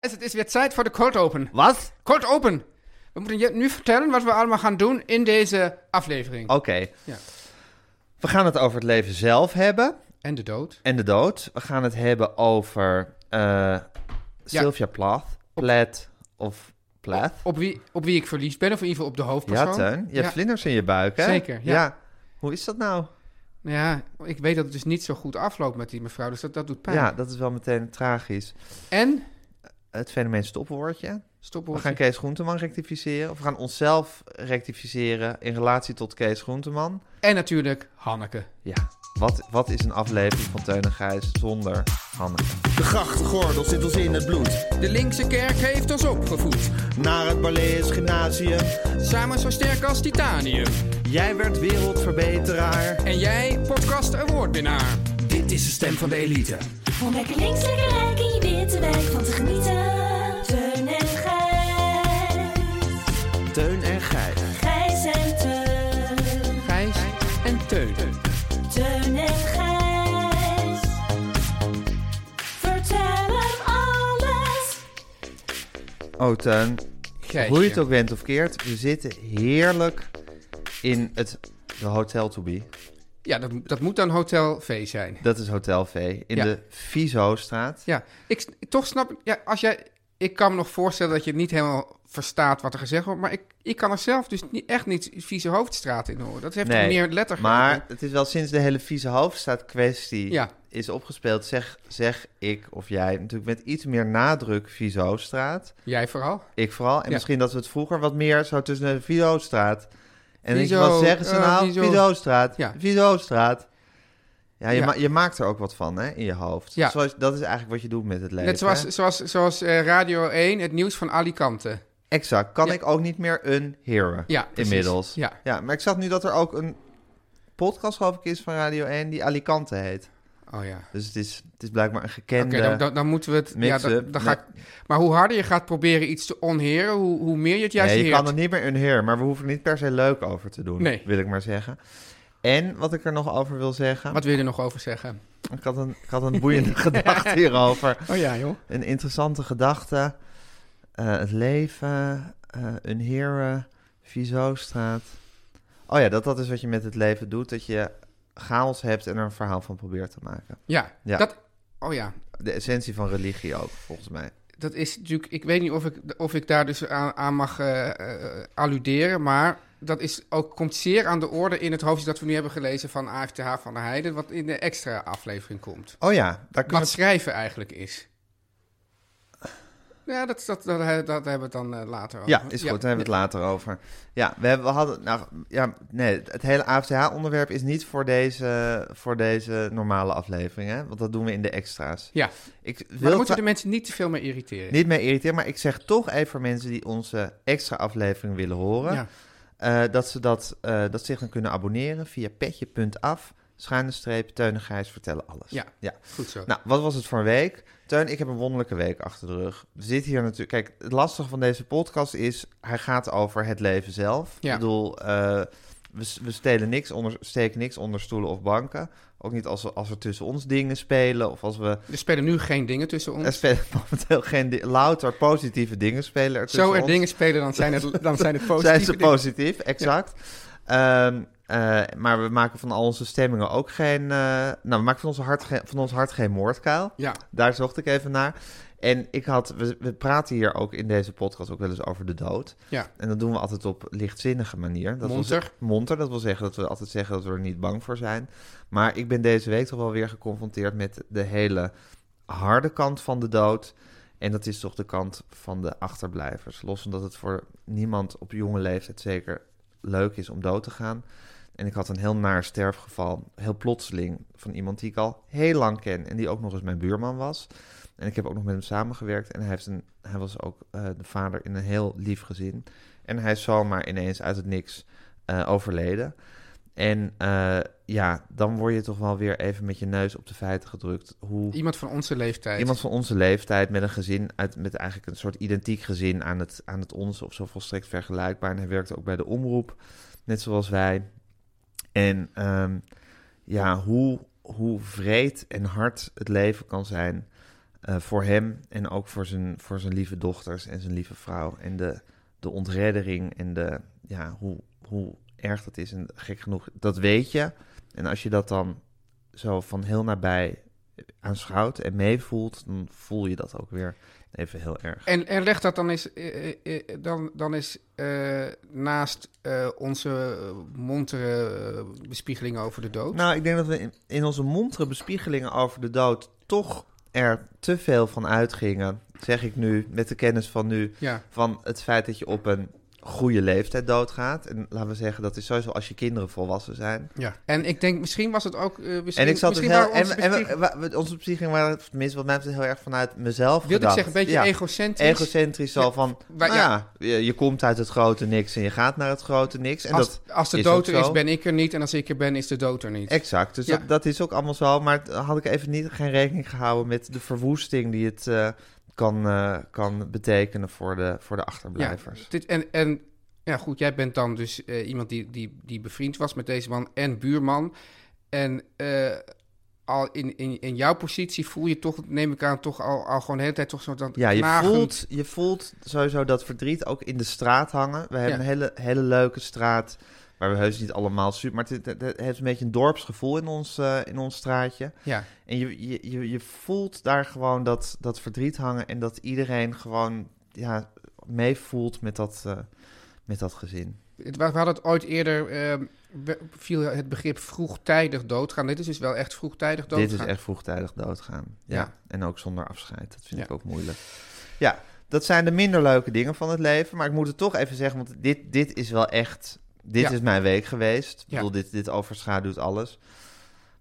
Dus het is weer tijd voor de cold open. Wat? Cold open. We moeten je nu vertellen wat we allemaal gaan doen in deze aflevering. Oké. Ja. We gaan het over het leven zelf hebben En de dood. en de dood. We gaan het hebben over eh Sylvia Plath. Plath of Plath. Op wie, op wie ik verliefd ben, of in ieder geval op de hoofdpersoon. Ja, Teun. Je hebt vlinders in je buik, hè? Zeker, ja. Hoe is dat nou? Ja, ik weet dat het dus niet zo goed afloopt met die mevrouw, dus dat, dat doet pijn. Ja, dat is wel meteen tragisch. En, Het fenomeen stopwoordje. Dus We stopwoordje. gaan Kees Groenteman rectificeren. Of we gaan onszelf rectificeren in relatie tot Kees Groenteman. En natuurlijk Hanneke. Ja, wat, wat is een aflevering van Teun en Gijs zonder Hanneke? De grachtgordel zit ons in het bloed. De linkse kerk heeft ons opgevoed. Naar het Balees Gymnasium. Samen zo sterk als titanium. Jij werd wereldverbeteraar. En jij, podcast awardwinnaar. Dit is de stem van de elite. Om lekker links, lekker rijk in je witte wijk van te genieten. Teun en Gijs. Teun en Gijs. Gijs en Teun. Gijs en Teun. Teun en Gijs. Vertel hem alles. Oh, Teun. Gijsje. Hoe je het ook bent of keert, we zitten heerlijk in het de Hotel to be. Ja, dat, dat moet dan Hotel V zijn. Dat is Hotel V in Ja. de Viso-straat. Ja, ik, toch snap ik- ja, als jij, ik kan me nog voorstellen dat je niet helemaal verstaat wat er gezegd wordt, maar ik, ik kan er zelf dus niet, echt niet vieze hoofdstraat in horen. Dat heeft meer lettergrepen. maar het is wel sinds de hele vieze hoofdstraat kwestie Ja. is opgespeeld, zeg, zeg ik of jij natuurlijk met iets meer nadruk vieze hoofdstraat. Jij vooral. Ik vooral. En Ja. misschien dat we het vroeger wat meer zo tussen de Vido-straat. En ik, Viso, wat zeggen ze eh, nou? Viso. Vido-straat. Ja. Vido-straat. Ja, je, Ja. ma- je maakt er ook wat van, hè, in je hoofd. Ja. Zoals, dat is eigenlijk wat je doet met het leven. Net zoals, zoals, zoals eh, Radio 1, het nieuws van Alicante. Exact. Kan Ja. ik ook niet meer een heren Ja, precies. inmiddels. Ja. maar ik zag nu dat er ook een podcast, geloof ik, is van Radio 1 die Alicante heet. Oh ja. Dus het is, het is blijkbaar een Oké, gekende... dan, dan, dan moeten we het... Ja, mix-up. dan, dan ga ik, maar hoe harder je gaat proberen iets te onheren, hoe, hoe meer je het juist Nee, je heert. kan er niet meer een heer, maar we hoeven er niet per se leuk over te doen, Nee. wil ik maar zeggen. En wat ik er nog over wil zeggen... Wat wil je er nog over zeggen? Ik, had een, ik had een boeiende gedachte hierover. Oh ja, joh. Een interessante gedachte. Eh, het leven, eh, een heren, Vizostraat. Oh ja, dat dat is wat je met het leven doet. Dat je chaos hebt en er een verhaal van probeert te maken. Ja, Ja. dat... Oh ja, De essentie van religie ook, volgens mij. dat is natuurlijk... Ik weet niet of ik, of ik daar dus aan, aan mag eh, eh, alluderen, maar dat is ook, komt zeer aan de orde in het hoofdstuk dat we nu hebben gelezen van AFTH van der Heijden, wat in de extra aflevering komt. Oh ja, daar kunnen Wat schrijven eigenlijk is. Ja, dat, dat, dat, dat hebben we het dan eh, later we- over. Ja, is goed. Daar hebben we het later over. Ja, we, hebben, we hadden... Nou, ja, nee, het hele AFTH-onderwerp is niet voor deze, voor deze normale aflevering, hè? Want dat doen we in de extra's. Ja, Ik wil maar dan moeten tra- de mensen niet te veel meer irriteren. Niet mee irriteren, maar ik zeg toch even voor mensen die onze extra aflevering willen horen... Ja. eh, dat ze dat, eh, dat zich dan kunnen abonneren via petje.af, schuine streep, Teun en Gijs vertellen alles. Ja. ja. Goed zo. Nou, wat was het voor een week? Teun, ik heb een wonderlijke week achter de rug. We zitten hier natuurlijk... Kijk, het lastige van deze podcast is... Hij gaat over het leven zelf. Ja. Ik bedoel, eh, we, we stelen niks onder, steken niks onder stoelen of banken. Ook niet als, we- als er tussen ons dingen spelen of als we... Er spelen nu geen dingen tussen Er ons. spelen momenteel geen di- louter positieve dingen spelen er Zo tussen er ons. dingen spelen, dan zijn het, dan zijn het positieve Zijn ze dingen. positief, exact. Ehm, eh, maar we maken van al onze stemmingen ook geen... eh, nou, we maken van, onze hart geen- van ons hart geen moordkuil. Ja, Daar zocht ik even naar. En ik had, we, we praten hier ook in deze podcast ook wel eens over de dood. ja. En dat doen we altijd op lichtzinnige manier. Dat wil Monter. ze- monter, dat wil zeggen dat we altijd zeggen dat we er niet bang voor zijn. Maar ik ben deze week toch wel weer geconfronteerd met de hele harde kant van de dood. En dat is toch de kant van de achterblijvers. Los van dat het voor niemand op jonge leeftijd zeker leuk is om dood te gaan. En ik had een heel naar sterfgeval, heel plotseling, van iemand die ik al heel lang ken. En die ook nog eens mijn buurman was. En ik heb ook nog met hem samengewerkt. En hij, heeft een, hij was ook eh, de vader in een heel lief gezin. En hij is zomaar ineens uit het niks eh, overleden. En eh, ja, dan word je toch wel weer even met je neus op de feiten gedrukt. Hoe Iemand van onze leeftijd. Iemand van onze leeftijd met een gezin, uit, met eigenlijk een soort identiek gezin aan het, aan het onze, of zo volstrekt vergelijkbaar. En hij werkte ook bij de omroep, net zoals wij. En ehm, ja, hoe, hoe vreed en hard het leven kan zijn eh, voor hem en ook voor zijn, voor zijn lieve dochters en zijn lieve vrouw. En de, de ontreddering en de, ja, hoe, hoe erg dat is. En gek genoeg, dat weet je. En als je dat dan zo van heel nabij aanschouwt en meevoelt, dan voel je dat ook weer even heel erg. En, en leg dat dan eens, eh, eh, eh, dan, dan is naast eh, onze montere eh, bespiegelingen over de dood. Nou, ik denk dat we in, in onze montere bespiegelingen over de dood toch er te veel van uitgingen, zeg ik nu, met de kennis van nu, ja, van het feit dat je op een goede leeftijd doodgaat. En laten we zeggen, dat is sowieso als je kinderen volwassen zijn. ja. En ik denk, misschien was het ook. eh, misschien, En ik zat dus misschien heel... waren onze En, en we- bespiegelingen- wa- we- onze bespiegelingen waren, tenminste wat mij betreft, heel erg vanuit mezelf wilde ik gedacht. zeggen, een beetje Ja. egocentrisch. Egocentrisch Ja, al van, wij- nou ja, je, je komt uit het grote niks en je gaat naar het grote niks. En als, dat als de is ook dood er zo. is, ben ik er niet. En als ik er ben, is de dood er niet. Exact, dus Ja. dat, dat is ook allemaal zo. Maar t- had ik even niet, geen rekening gehouden met de verwoesting die het eh, kan, eh, kan betekenen voor de, voor de achterblijvers. Dit, en, en ja, goed, jij bent dan dus eh, iemand die, die, die bevriend was met deze man en buurman. En eh, al in, in, in jouw positie voel je toch, neem ik aan, toch al, al gewoon de hele tijd toch zo dat Ja, je knagend- voelt, je voelt sowieso dat verdriet ook in de straat hangen. We hebben Ja. een hele, hele leuke straat waar we heus niet allemaal super... Maar het, het- het heeft een beetje een dorpsgevoel in ons, eh, in ons straatje. Ja, En je, je, je, je voelt daar gewoon dat, dat verdriet hangen en dat iedereen gewoon ja, meevoelt met dat, eh, met dat gezin. het, we we hadden het ooit eerder, ehm, we- viel het begrip vroegtijdig doodgaan. Dit is dus wel echt vroegtijdig doodgaan. Dit is echt vroegtijdig doodgaan. Ja. Ja. En ook zonder afscheid. Dat vind Ja. ik ook moeilijk. Ja, dat zijn de minder leuke dingen van het leven. Maar ik moet het toch even zeggen, want dit, dit is wel echt... Dit Ja. is mijn week geweest. Ik Ja. bedoel, dit, dit overschaduwt alles.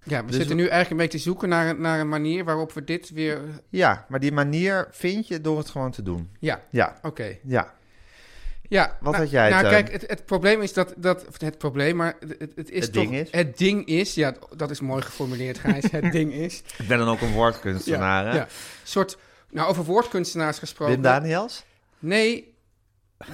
Ja, we dus zitten we- nu eigenlijk een beetje te zoeken naar, een- naar een manier waarop we dit weer... Ja, maar die manier vind je door het gewoon te doen. Ja, Ja, oké. ja. Ja, Wat had jij, Nou, Teun? kijk, het, het probleem is dat, dat... of Het probleem, maar het, het is Het toch... ding is? Het ding is, ja, dat is mooi geformuleerd, Gijs. het ding is... Ik ben dan ook een woordkunstenaar, Ja, hè? ja. eh, soort... Nou, over woordkunstenaars gesproken... Wim Daniels? Nee,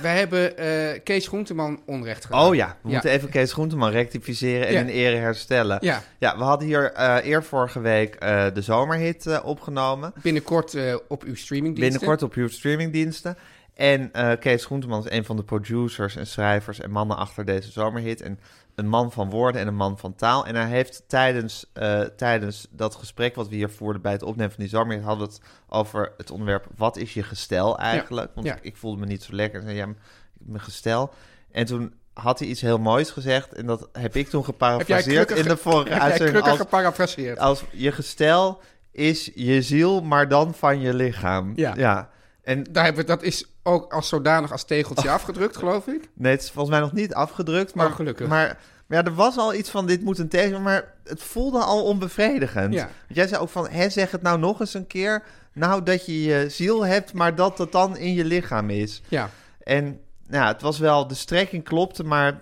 wij hebben eh, Kees Groenteman onrecht gedaan. Oh ja, we Ja. moeten even Kees Groenteman rectificeren en Ja. in ere herstellen. Ja, Ja, we hadden hier eh eer vorige week eh, de zomerhit eh, opgenomen. binnenkort eh, op uw streamingdiensten. Binnenkort op uw streamingdiensten. En eh, Kees Groenteman is een van de producers en schrijvers en mannen achter deze zomerhit. En een man van woorden en een man van taal. En hij heeft tijdens, eh, tijdens dat gesprek wat we hier voerden bij het opnemen van die zomerhit... hadden we het over het onderwerp wat is je gestel eigenlijk? Want ja. ik, ik voelde me niet zo lekker. En zei, ja, m- mijn gestel. En toen had hij iets heel moois gezegd. En dat heb ik toen geparafraseerd krukker in ge- de vorige Heb jij uitzending. krukker Als, geparafraseerd? als je gestel is je ziel, maar dan van je lichaam. Ja. ja. En Daar hebben we, dat is ook als zodanig als tegeltje Oh. afgedrukt, geloof ik. Nee, het is volgens mij nog niet afgedrukt. Maar, Oh, gelukkig. Maar, maar ja, er was al iets van, dit moet een tegen, maar het voelde al onbevredigend. Ja. Want jij zei ook van, hè, zeg het nou nog eens een keer. Nou, dat je je ziel hebt, maar dat dat dan in je lichaam is. Ja, En nou, ja, het was wel, de strekking klopte, maar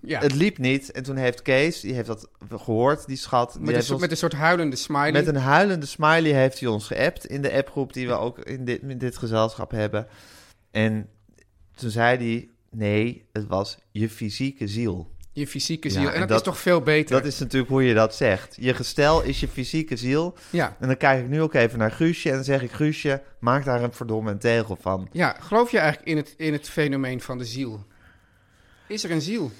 ja. het liep niet. En toen heeft Kees, die heeft dat gehoord, die schat. die met, een, heeft soort- ons- met een soort huilende smiley. met een huilende smiley heeft hij ons geappt in de appgroep die we ook in dit, in dit gezelschap hebben. En toen zei hij, nee, het was je fysieke ziel. Je fysieke Ja, ziel. en, en dat, dat- is toch veel beter. Dat is natuurlijk hoe je dat zegt. Je gestel is je fysieke ziel. Ja. En dan kijk ik nu ook even naar Guusje en dan zeg ik... Guusje, maak daar een verdomme een tegel van. ja, geloof je eigenlijk in het, in het fenomeen van de ziel? Is er een ziel?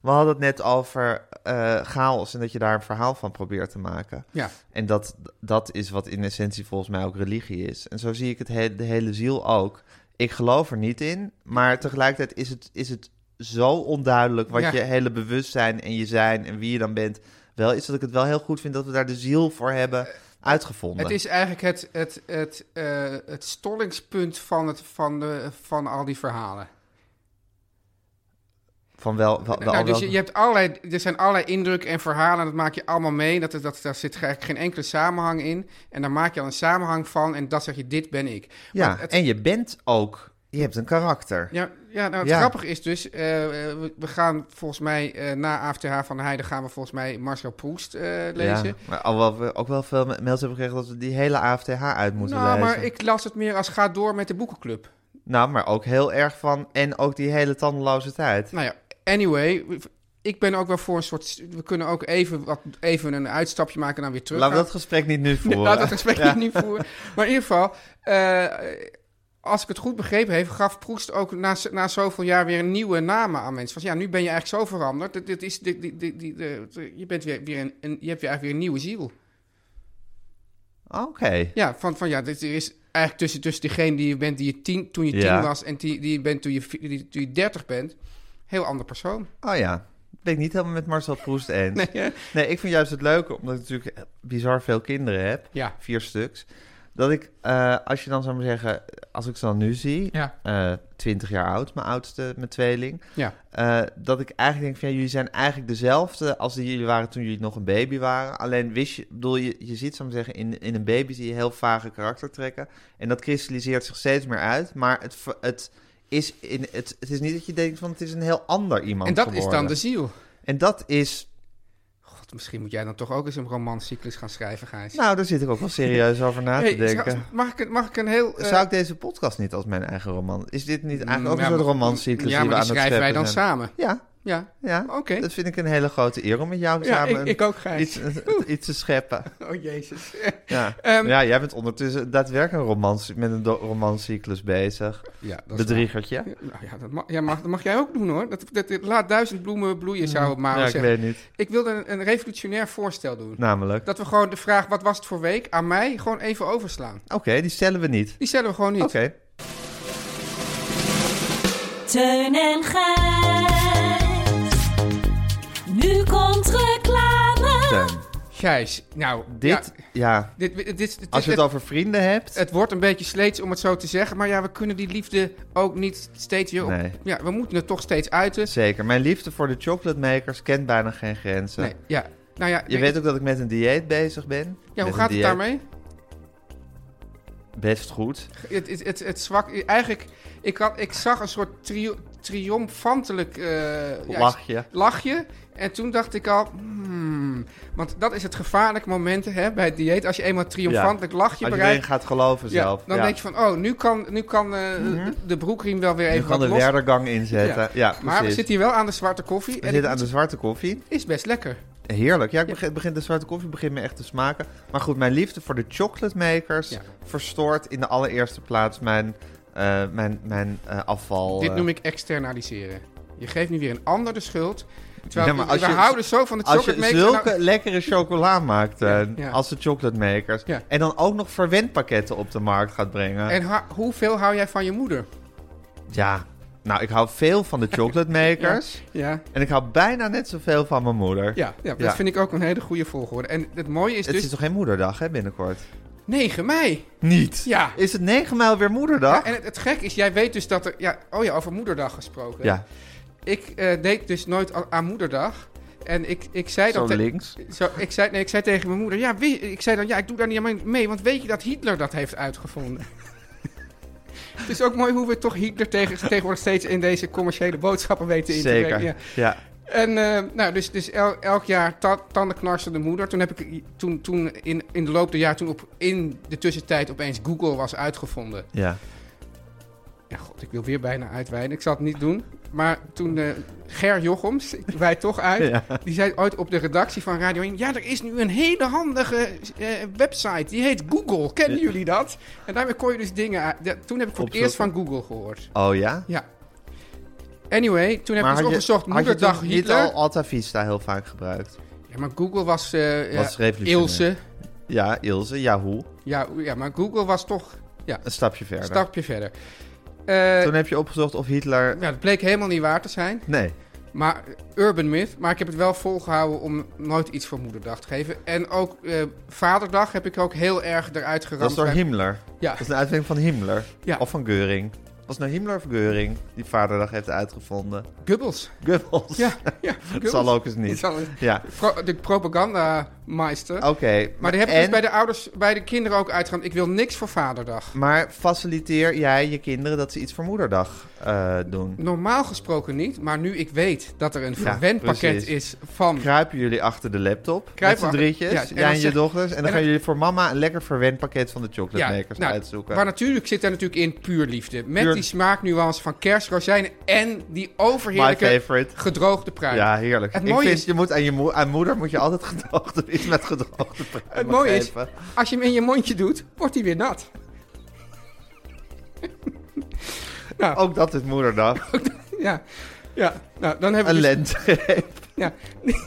We hadden het net over eh, chaos en dat je daar een verhaal van probeert te maken. Ja. En dat, dat is wat in essentie volgens mij ook religie is. En zo zie ik het he- de hele ziel ook. Ik geloof er niet in, maar tegelijkertijd is het, is het zo onduidelijk wat Ja. je hele bewustzijn en je zijn en wie je dan bent wel is, dat ik het wel heel goed vind dat we daar de ziel voor hebben uitgevonden. Eh, Het is eigenlijk het, het, het, eh, het stollingspunt van, het, van, de, van al die verhalen. Van wel, wel, wel, nou, dus wel- je, je hebt allerlei, er zijn allerlei indrukken en verhalen, en dat maak je allemaal mee. Dat, dat, daar zit eigenlijk geen enkele samenhang in. En daar maak je al een samenhang van en dat zeg je, dit ben ik. ja, Want het- en je bent ook, je hebt een karakter. Ja, ja nou, het Ja. grappige is dus, eh, eh, we, we gaan volgens mij eh, na AFTH van de Heide gaan we volgens mij Marcel Proest eh, lezen. Ja, maar alhoewel we ook wel veel mails hebben gekregen dat we die hele AFTH uit moeten nou, lezen. maar ik las het meer als ga door met de boekenclub. Nou, maar ook heel erg van. En ook die hele tandeloze tijd. Nou ja, anyway, ik ben ook wel voor een soort, we kunnen ook even, wat, even een uitstapje maken en dan weer terug. Laten we dat gesprek niet nu voeren. Laat dat gesprek niet niet voeren. Maar in ieder geval, eh, als ik het goed begrepen heb, gaf Proest ook na, z- na zoveel jaar weer een nieuwe namen aan mensen. Van ja, nu ben je eigenlijk zo veranderd. Dit, dit is, dit, dit, dit- dit- dit- je, bent weer, weer een, een- je hebt weer eigenlijk weer een nieuwe ziel. Oké. Ja, van, van ja, dit er is eigenlijk tussen, tussen degene die je bent die je tien, toen je tien Ja. was en die, die je bent toen je, vi- die, toen je dertig bent. Heel ander persoon. Oh ja. Ben ik niet helemaal met Marcel Proest eens. Nee, hè? Nee, ik vind juist het leuke, omdat ik natuurlijk bizar veel kinderen heb. Ja. Vier stuks. Dat ik, eh, als je dan zou maar zeggen, als ik ze dan nu zie, Ja. eh, twintig jaar oud, mijn oudste, mijn tweeling. Ja. eh, dat ik eigenlijk denk van, ja, jullie zijn eigenlijk dezelfde als die jullie waren toen jullie nog een baby waren. Alleen wist je, ik bedoel, je, je ziet, zou ik maar zeggen, in, in een baby zie je heel vage karaktertrekken. En dat kristalliseert zich steeds meer uit. Maar het, ver- het, is, in, het, het is niet dat je denkt van, het is een heel ander iemand En dat is geworden. dan dus- de ziel. En dat is God, misschien moet jij dan toch ook eens een romancyclus gaan schrijven, Gijs. Nou, daar zit ik ook wel serieus over na te Hey, eh, denken. schat, mag, ik, een- mag ik een heel... eh, Zou ik deze podcast niet als mijn eigen roman... Is dit niet eigenlijk ook Mm, Ja, een soort maar- romancyclus Ja, die we maar aan die het schrijven wij scheppen dan zijn? samen. Ja, Ja, ja. Oké. Dat vind ik een hele grote eer om met jou ja samen ik, ik ook Gijs. iets, eh, iets te scheppen. Oh jezus. Ja. Ehm, ja, jij bent ondertussen daadwerkelijk een romans, met een do- romancyclus bezig. Ja, dat is Bedriegertje. waar. Nou ja, dat mag, ja, mag, dat mag jij ook doen hoor. Dat, dat, dat- laat duizend bloemen bloeien, zou Mao Ja, ik zeggen. weet niet. Ik wilde een, een revolutionair voorstel doen. Namelijk. Dat we gewoon de vraag, wat was het voor week, aan mij gewoon even overslaan. Oké, die stellen we niet. Die stellen we gewoon niet. Oké. Teun en Gijs. Nu komt reclame. Teun, Gijs, nou... Dit, ja, ja, dit, dit, dit, dit- als je het het, over vrienden hebt... het wordt een beetje sleets om het zo te zeggen. Maar ja, we kunnen die liefde ook niet steeds weer... Op, Nee. Ja, we moeten het toch steeds uiten. Zeker. Mijn liefde voor de chocolate makers kent bijna geen grenzen. Nee, ja. Nou ja, Je weet ook dat ik met een dieet bezig ben. ja Met hoe een gaat het dieet daarmee? Best goed. Het, het, het, het zwak... Eigenlijk, ik, had, ik zag een soort tri- triomfantelijk... eh, ja, Lachje. lachje. En toen dacht ik al... hmm, want dat is het gevaarlijke moment hè, bij het dieet. Als je eenmaal triomfantelijk lachje Als je erin bereikt... gaat geloven ja, zelf. dan Ja. denk je van, oh, nu kan, nu kan eh, de- de broekriem wel weer Je even kan de wat los. werdergang inzetten. Ja, Ja. precies. maar we zitten hier wel aan de zwarte koffie. We en zitten ik aan de moet- zwarte koffie. is best lekker. Heerlijk. Ja, ik begin, begin- de zwarte koffie begint me echt te smaken. Maar goed, mijn liefde voor de chocolate makers Ja. verstoort in de allereerste plaats mijn, eh, mijn, mijn eh, afval. Dit eh, noem ik externaliseren. Je geeft nu weer een ander de schuld. Terwijl Ja, maar we- als we je- houden zo van de Als chocolate je maker. zulke nou- lekkere chocola maakt, eh, Ja, ja. als de chocolate makers, Ja. en dan ook nog verwendpakketten op de markt gaat brengen. en ha- hoeveel hou jij van je moeder? Ja, nou, ik hou veel van de chocolate makers. Ja, En ik hou bijna net zoveel van mijn moeder. ja, ja dat Ja. vind ik ook een hele goede volgorde. En het mooie is Het dus is toch geen moederdag, hè, binnenkort? 9 mei. Niet. Ja. Is het 9 mijl weer moederdag? Ja, en het, het gek is, jij weet dus dat er... Ja, oh ja, over moederdag gesproken. Ja, Ik eh, deed dus nooit a- aan moederdag. En ik, ik zei zo dat... te- links. Zo, ik, zei, nee, ik zei tegen mijn moeder, ja, wie- ik zei dan, ja, ik doe daar niet aan mee, want weet je dat Hitler dat heeft uitgevonden? Het is ook mooi hoe we toch Hitler tegen, tegenwoordig steeds in deze commerciële boodschappen weten in te Zeker. brengen. Ja. Ja. En eh, nou, dus, dus el- elk jaar ta tandenknarsende moeder. Toen heb ik toen, toen in, in de loop der jaar, toen op, in de tussentijd opeens Google was uitgevonden. Ja. Ja, god, ik wil weer bijna uitweiden. Ik zal het niet doen. Maar toen eh, Ger Jochems, ik wijd toch uit, Ja. die zei ooit op de redactie van Radio 1... Ja, er is nu een hele handige eh, website. Die heet Google. Kennen jullie dat? En daarmee kon je dus dingen... uit- Ja, toen heb ik voor het eerst van Opzoeken. Google gehoord. Oh ja? Ja. Anyway, toen heb ik dus Maar had je, opgezocht had je moederdag toen niet Hitler. al Alta Vista heel vaak gebruikt? Ja, maar Google was... eh ja, Was revolutionair. Ilse. Ja, Ilse, Yahoo. Ja, ja, maar Google was toch Een stapje verder. een stapje verder. Eh, Toen heb je opgezocht of Hitler... ja, dat bleek helemaal niet waar te zijn. Nee. Maar Urban Myth. Maar ik heb het wel volgehouden om nooit iets voor Moederdag te geven. En ook eh, Vaderdag heb ik ook heel erg eruit geramd. Dat is door Bij- Himmler. Ja, Dat is een uitvinding van Himmler. Ja. Of van Geuring. Was het nou Himmler of Geuring die Vaderdag heeft uitgevonden? Gubbels. Gubbels. Ja, ja. Dat zal ook eens niet. Ja. Pro- de propagandameister. Oké. maar die heb ik en- dus bij de ouders, bij de kinderen ook uitgeramd. Ik wil niks voor Vaderdag. maar faciliteer jij je kinderen dat ze iets voor Moederdag eh, doen? Normaal gesproken niet, maar nu ik weet dat er een Ja, verwend pakket precies. is van... Kruipen jullie achter de laptop Kruipen met z'n achter- drietjes, ja, en dan jij en je zeg- dochters. En dan en gaan dan- jullie voor mama een lekker verwend pakket van de chocolate makers nou, uitzoeken. Maar natuurlijk zit er natuurlijk in puur liefde. Met Puur- die smaaknuance van kerstrozijnen en die My overheerlijke favorite. gedroogde pruim. Ja, heerlijk. Het ik mooie vind, is- je moet aan je moe- aan moeder moet je altijd gedoogde iets met gedoogde pruimen Het mooie is- geven. Als je hem in je mondje doet, wordt hij weer nat. Ook dat is moederdag. Ja, ja. nou dan hebben Een we dus lente. ja.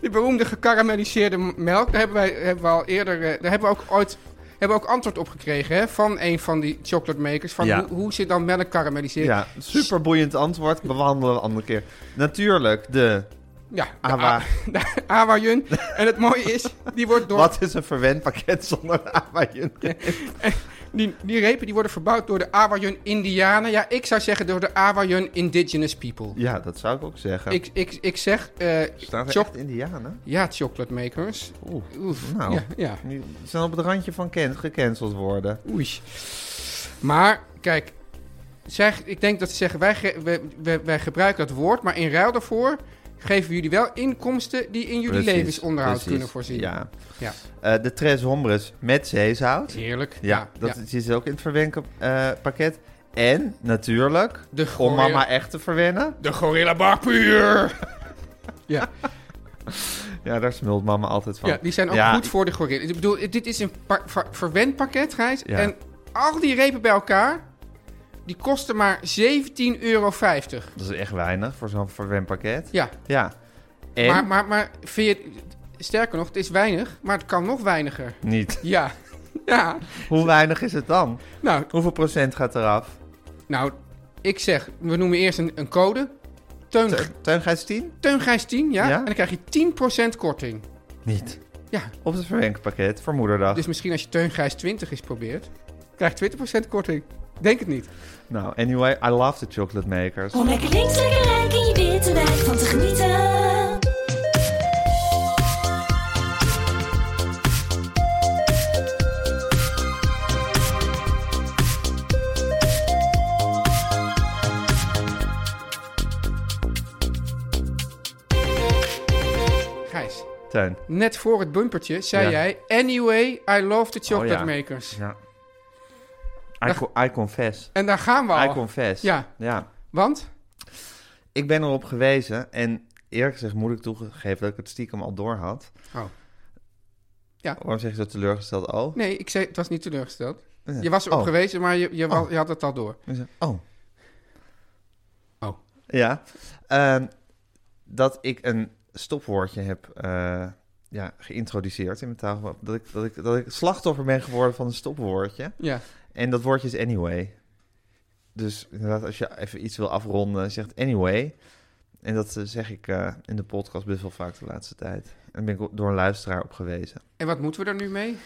die beroemde gekarameliseerde m- melk. Daar hebben wij hebben we al eerder, eh, daar hebben we ook ooit hebben we ook antwoord op gekregen hè, van een van die chocolate makers. Van Ja. hoe, hoe zit dan melk karamelliseerd? ja, super boeiend antwoord. Bewandelen we een andere keer. Natuurlijk, de... Ja, de Awa. A- de awajun. En het mooie is, die, wordt door, Wat is een verwend pakket zonder Hawaiian? die, die repen die worden verbouwd door de awajun Indianen. Ja, ik zou zeggen door de awajun Indigenous People. Ja, dat zou ik ook zeggen. Ik, ik, ik zeg, eh, Staan er choc- echt Indianen? ja, chocolate makers. Oeh, Oef, nou. ja, ja. Die zijn op het randje van can- gecanceld worden. Oei. Maar, kijk. Zij, ik denk dat ze zeggen, wij, ge- we- we- wij gebruiken dat woord, maar in ruil daarvoor geven we jullie wel inkomsten die in jullie Precies, levensonderhoud precies, kunnen voorzien. Ja. Ja. Eh, de Tres Hombres met zeezout. Ja, Heerlijk. dat is is ook in het verwenken eh, pakket. En natuurlijk, De om gorilla- mama echt te verwennen. De gorilla barpuur! ja. Ja, daar smult mama altijd van. ja, die zijn ook Ja, goed voor de gorilla. Ik bedoel, dit is een pa- ver- verwend pakket, Gijs. Ja. En al die repen bij elkaar, die kosten maar 17,50 euro. Dat is echt weinig voor zo'n verwend pakket. Ja, Ja. En maar, maar, maar vind je, sterker nog, het is weinig, maar het kan nog weiniger. niet. Ja, ja. Hoe weinig is het dan? Nou, Hoeveel procent gaat eraf? nou, ik zeg, we noemen eerst een, een code. Teun, Te- Teun Gijs 10? Teungijs 10, ja? Ja? En dan krijg je 10% korting. Niet. Ja, Op het verwenkpakket voor moederdag. dus misschien als je Teungijs 20 is probeert, krijg je 20% korting. Denk het niet. Nou, anyway, I love the chocolate makers. Oh. Om lekker links, lekker rijk in je witte wijk van te genieten. Gijs, Teun. net voor het bumpertje zei Ja. jij... Anyway, I love the chocolate Oh, ja. makers. Ja. I, co- I confess. En daar gaan we al. I confess. Ja. ja. Want? Ik ben erop gewezen en eerlijk gezegd moet ik toegeven dat ik het stiekem al door had. Oh. Waarom zeg je zo teleurgesteld? Oh. Nee, ik zei, het was niet teleurgesteld. Ja. Je was erop Oh. gewezen, maar je, je, wa- je had het al door. Ik zeg, Oh. Oh. Ja. Ehm, dat ik een stopwoordje heb eh, ja, geïntroduceerd in mijn taal. Dat ik, dat, ik, dat ik slachtoffer ben geworden van een stopwoordje. Ja. En dat woordje is anyway. Dus inderdaad, als je even iets wil afronden, zegt anyway. En dat eh, zeg ik eh, in de podcast best wel vaak de laatste tijd. En daar ben ik o- door een luisteraar op gewezen. En wat moeten we er nu mee?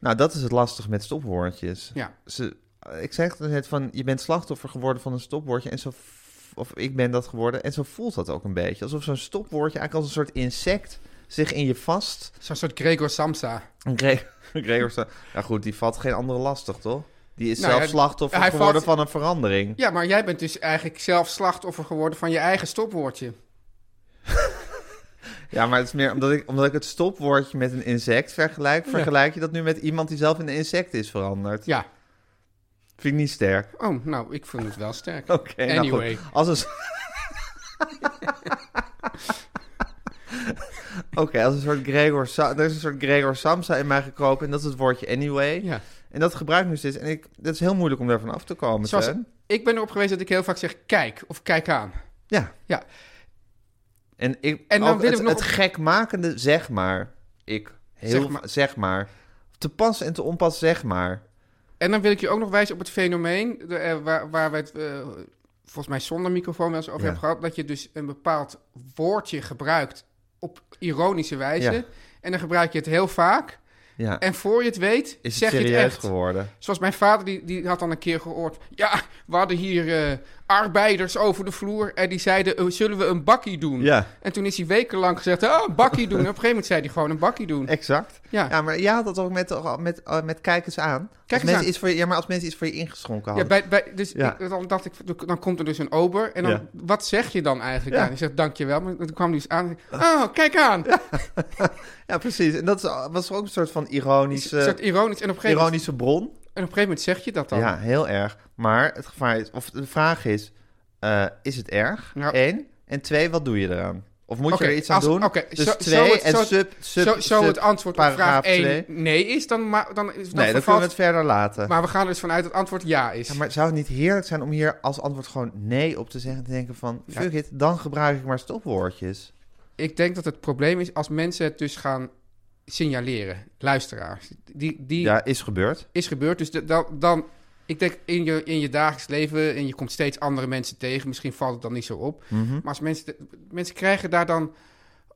Nou, dat is het lastige met stopwoordjes. Ja. Ze, ik zeg het net van, je bent slachtoffer geworden van een stopwoordje. En zo, f- of ik ben dat geworden. En zo voelt dat ook een beetje. Alsof zo'n stopwoordje eigenlijk als een soort insect zich in je vast... Zo'n soort Gregor Samsa. Een Gre- Gregor sta- ja goed, die valt geen andere lastig, toch? Die is Nou zelf ja, slachtoffer hij geworden valt- van een verandering. Ja, maar jij bent dus eigenlijk zelf slachtoffer geworden van je eigen stopwoordje. Ja, maar het is meer omdat ik, omdat ik het stopwoordje met een insect vergelijk. Vergelijk je dat nu met iemand die zelf in een insect is veranderd? Ja. Vind ik niet sterk. Oh, nou, ik vond het wel sterk. Oké, nou goed. Anyway. Als een... s- Oké, als een soort Gregor... Sa- er is een soort Gregor Samsa in mij gekropen en dat is het woordje anyway. Ja. En dat gebruik ik nu steeds. En ik, dat is heel moeilijk om daarvan af te komen, Zoals, Teun. ik ben erop geweest dat ik heel vaak zeg kijk of kijk aan. Ja. Ja, En, ik, En dan ook wil het, ik nog het op- gekmakende zeg maar. Ik. Heel Zeg zeg maar. maar. Zeg maar. Te pas en te onpas zeg maar. En dan wil ik je ook nog wijzen op het fenomeen de, eh, waar, waar we het eh, volgens mij zonder microfoon wel eens over Ja. hebben gehad. Dat je dus een bepaald woordje gebruikt op ironische wijze. Ja. En dan gebruik je het heel vaak. Ja. En voor je het weet, is het zeg je het serieus echt. geworden? Zoals mijn vader, die, die had dan een keer gehoord. Ja, we hadden hier eh, arbeiders over de vloer. En die zeiden: eh, Zullen we een bakkie doen? Ja. En toen is hij wekenlang gezegd: Oh, een bakkie doen. En op een gegeven moment zei hij gewoon: Een bakkie doen. Exact. Ja. ja, maar jij had dat ook met, toch- met, eh, met kijkers aan. als eens mensen aan. Iets voor je, ja, maar als mensen iets voor je ingeschonken Ja, hadden. bij, bij, dus Ja. ik- dan dacht ik, dan komt er dus een ober. En dan, Ja. wat zeg je dan eigenlijk? Ja. aan? Ik zeg, dankjewel. Maar toen kwam hij dus aan. Oh, kijk aan! Ja, precies. En dat is, was ook een soort van Een soort ironische, ironisch. En op, een gegeven moment, ironische bron. en op een gegeven moment zeg je dat dan. Ja, heel erg. Maar het gevaar is, of de vraag is, eh, is het erg? Ja. Eén. En twee, wat doe je eraan? Of moet Nou- Oké, je er iets aan als- doen? oké, dus zo- zo twee het- en zo- sub, sub, zo zo sub het antwoord op vraag paragraaf twee. 1 nee is, dan, ma- dan, is- dan Nee, dan kunnen vervalt... we het verder laten. Maar, Maar we gaan er dus vanuit dat het antwoord ja is. maar zou het niet heerlijk zijn om hier als antwoord gewoon nee op te zeggen? En te denken van, Ja. fuck it, dan gebruik ik maar stopwoordjes. Ik denk dat het probleem is als mensen het dus gaan signaleren. Luisteraars. Die, die Ja, is gebeurd. is gebeurd. Dus de- dan, dan, ik denk in je, in je dagelijks leven en je komt steeds andere mensen tegen. Misschien valt het dan niet zo op. Maar als mensen, de- mensen krijgen daar dan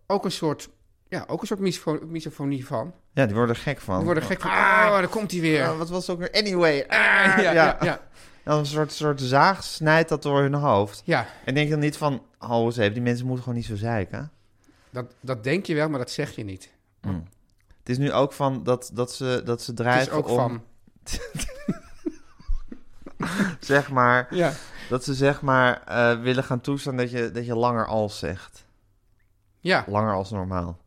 ook een soort, ja, ook een soort misfo- misofonie van. Ja, die worden er gek van. Die worden gek van, ah, daar komt hij weer. Ah, wat was het ook weer? Anyway. ah. ja, ja, ja. ja. ja, En een soort, soort zaag snijdt dat door hun hoofd. ja. En denk dan niet van, oh, eens even, die mensen moeten gewoon niet zo zeiken. Dat, dat denk je wel, maar dat zeg je niet. Het is nu ook van dat, dat, ze, dat ze Het is drijven ook om, van, zeg maar, ja. dat ze zeg maar eh, willen gaan toestaan dat je, dat je langer als zegt. Ja, Langer als normaal.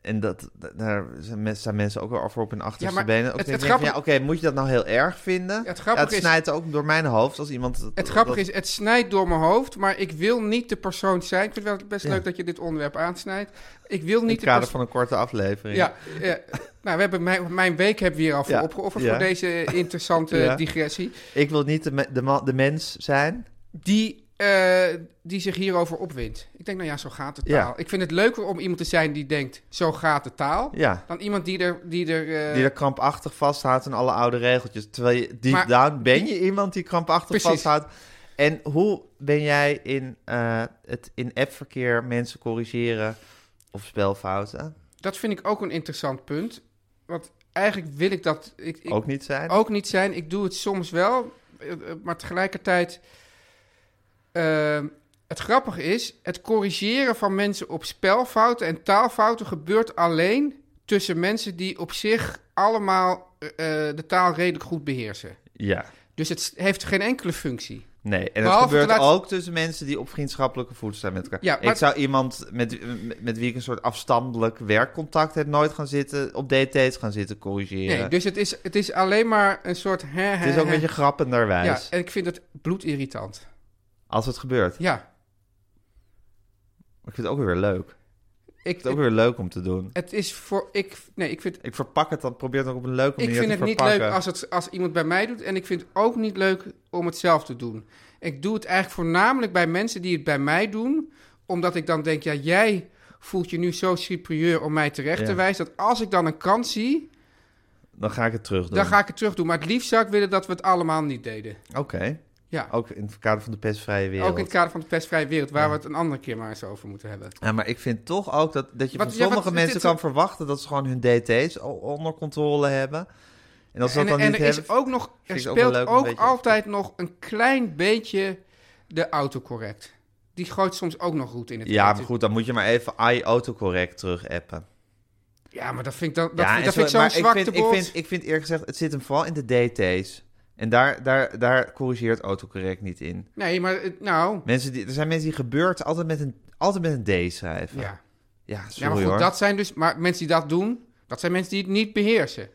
En dat, dat- daar zijn men- staan mensen ook wel voor op hun achterste Ja, maar benen. Ook het- denk het ik van, grappige- ja, oké, moet je dat nou heel erg vinden? Ja, grappige het is- snijdt ook door mijn hoofd als iemand... dat- het grappige dat- is, het snijdt door mijn hoofd, maar ik wil niet de persoon zijn. Ik vind het wel best Ja. leuk dat je dit onderwerp aansnijdt. Ik wil In niet het de kader persoon... van een korte aflevering. Ja, eh, nou, we hebben mijn, mijn week hebben we hier al voor Ja, opgeofferd ja. voor deze interessante Ja. digressie. Ik wil niet de, me- de, man- de mens zijn. Die, eh, die zich hierover opwint. Ik denk, nou ja, zo gaat de Ja. taal. Ik vind het leuker om iemand te zijn die denkt, zo gaat de taal. Ja. Dan iemand die er... Die er, eh, Die er krampachtig vasthoudt aan alle oude regeltjes. Terwijl je deep Maar- down ben je iemand die krampachtig Precies. vasthoudt. En hoe ben jij in eh, het in appverkeer mensen corrigeren of spelfouten? Dat vind ik ook een interessant punt. Want eigenlijk wil ik dat... Ik, ik- Oh. Ook niet zijn? ook niet zijn. Ik doe het soms wel, eh, eh, maar tegelijkertijd. ehm, het grappige is, het corrigeren van mensen op spelfouten en taalfouten gebeurt alleen tussen mensen die op zich allemaal eh, eh, de taal redelijk goed beheersen. Ja. Dus het s- heeft geen enkele functie. Nee, en dat Behalve gebeurt de laatste- ook tussen mensen die op vriendschappelijke voet staan met elkaar. Ja, maar- Ik zou iemand met, met wie ik een soort afstandelijk werkcontact heb nooit gaan zitten, op DT's gaan zitten corrigeren. Nee, dus het is, het is alleen maar een soort. hè, hè, Het is ook een hè. beetje Ja, grappenderwijs en ik vind het bloedirritant. als het gebeurt. Ja, Maar ik vind het ook weer leuk. Ik ik, vind het ook weer leuk om te doen. het is voor. Ik, nee, ik vind Ik verpak het dan, probeer het ook op een leuke Ik manier vind te het niet verpakken. leuk als, het, als iemand bij mij doet. En ik vind het ook niet leuk om het zelf te doen. Ik doe het eigenlijk voornamelijk bij mensen die het bij mij doen. Omdat ik dan denk, ja, jij voelt je nu zo superieur om mij terecht Ja. te wijzen. Dat als ik dan een kans zie, Dan ga ik het terug doen. dan ga ik het terug doen. Maar het liefst zou ik willen dat we het allemaal niet deden. Oké, Ja, ook in het kader van de pestvrije wereld. ook in het kader van de pestvrije wereld. Waar we het een andere keer maar eens over moeten hebben. Ja, maar ik vind toch ook dat, dat je Wat- van ja, wat- sommige dit- mensen dit- kan verwachten dat ze gewoon hun DT's o- onder controle hebben. En als ze dat En, dan en niet er hebben... is ook nog, ik er ook wel speelt leuk ook, om een beetje- altijd nog een klein beetje de autocorrect. Die gooit soms ook nog roet in het Ja, eten. maar goed, dan moet je maar even i-autocorrect terug appen. Ja, maar dat vind ik, dan, dat ja, vind, en dat vind ik zo- zo'n maar ik zwakte vind, ik, vind, ik vind eerlijk gezegd, het zit hem vooral in de DT's. En daar, daar, daar corrigeert autocorrect niet in. Nee, maar het- nou, Mensen die, er zijn mensen die gebeurt altijd met een, altijd met een D schrijven. ja. ja sorry ja maar goed, hoor. dat zijn dus, maar mensen die dat doen, dat zijn mensen die het niet beheersen.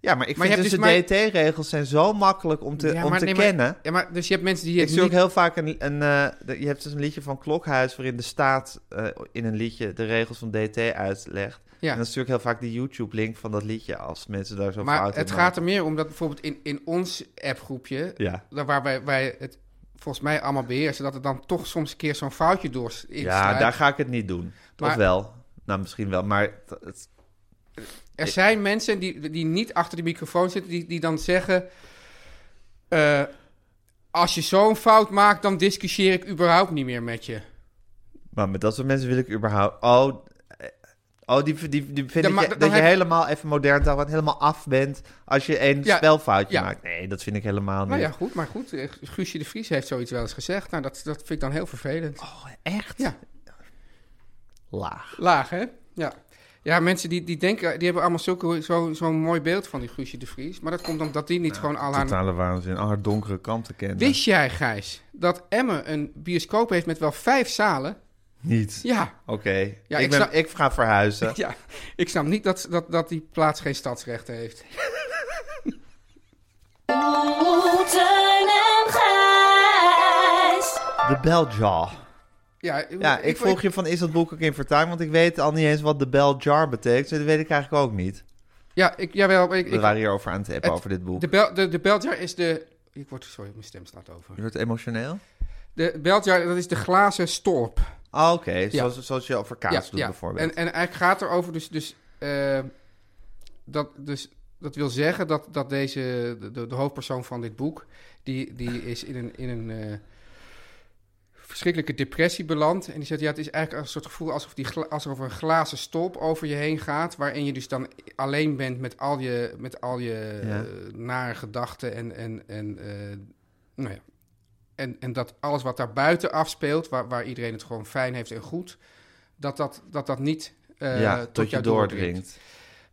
Ja, maar ik Maar je vind dus, hebt de dus DT-regels zijn zo makkelijk om te, om te nee, kennen. Ja, maar dus je hebt mensen die ik het zie ook niet... heel vaak een... een eh, de- je hebt dus een liedje van Klokhuis... waarin de staat eh, in een liedje de regels van DT uitlegt. En Ja. dat is natuurlijk heel vaak die YouTube-link van dat liedje... als mensen daar zo Maar fout in het maken. gaat er meer om dat bijvoorbeeld in, in ons appgroepje, Ja. daar waar wij, wij het volgens mij allemaal beheersen, dat er dan toch soms een keer zo'n foutje door s- in Ja, sluipt. daar ga ik het niet doen. Of Maar- wel? Nou, misschien wel, maar... t- het- Er zijn mensen die, die niet achter de microfoon zitten, die, die dan zeggen... eh, als je zo'n fout maakt, dan discussieer ik überhaupt niet meer met je. maar met dat soort mensen wil ik überhaupt... Oh, eh, oh die, die, die vind Ja, ik maar je- dan dat je heb- helemaal even modern taal... want helemaal af bent als je één Ja, spelfoutje ja. maakt. Nee, dat vind ik helemaal niet. Nou ja, goed, maar goed. eh, Guusje de Vries heeft zoiets wel eens gezegd. Nou, dat, dat vind ik dan heel vervelend. Oh, echt? Ja. Laag. Laag, hè? Ja. Ja, mensen die, die denken, die hebben allemaal zulke- zo- zo'n mooi beeld van die Guusje de Vries. Maar dat komt omdat die niet gewoon al aan... Totale waanzin. Al haar donkere kanten kennen. Wist jij, Gijs, dat Emmen een bioscoop heeft met wel vijf zalen? Niet. Ja. Oké. Ja, ik, ik ben- snap- ik ga verhuizen. Ja, ik snap niet dat, dat, dat die plaats geen stadsrechten heeft. Oeh, Oh, Teun en Gijs. De Beljar. Ja, Ja, ik vroeg je van is dat boek ook in vertaling? Want ik weet al niet eens wat de Beljar betekent. Dus Dat weet ik eigenlijk ook niet. Ja, ik, jawel, maar ik, We ik- waren hierover aan het appen, het- over dit boek. de, bel, de, de Beltjar is de... Ik word, sorry, mijn stem slaat over. Je wordt emotioneel? De Beltjar, dat is de glazen storp. Ah, Oké, zoals, zoals je over kaas doet bijvoorbeeld. En, en eigenlijk gaat het erover dus... dus, eh, dat, dus dat wil zeggen dat, dat deze, de- de, de hoofdpersoon van dit boek... die, die is in een, in een eh, verschrikkelijke depressie beland. En die zegt, ja, het is eigenlijk een soort gevoel... alsof, die, gla- alsof er een glazen stolp over je heen gaat... waarin je dus dan alleen bent met al je, met al je Ja. eh, nare gedachten... en, en, en eh, nou ja... En, en dat alles wat daar buiten afspeelt, waar, waar iedereen het gewoon fijn heeft en goed, dat dat, dat, dat niet eh, ja, tot, tot, je jou doordringt.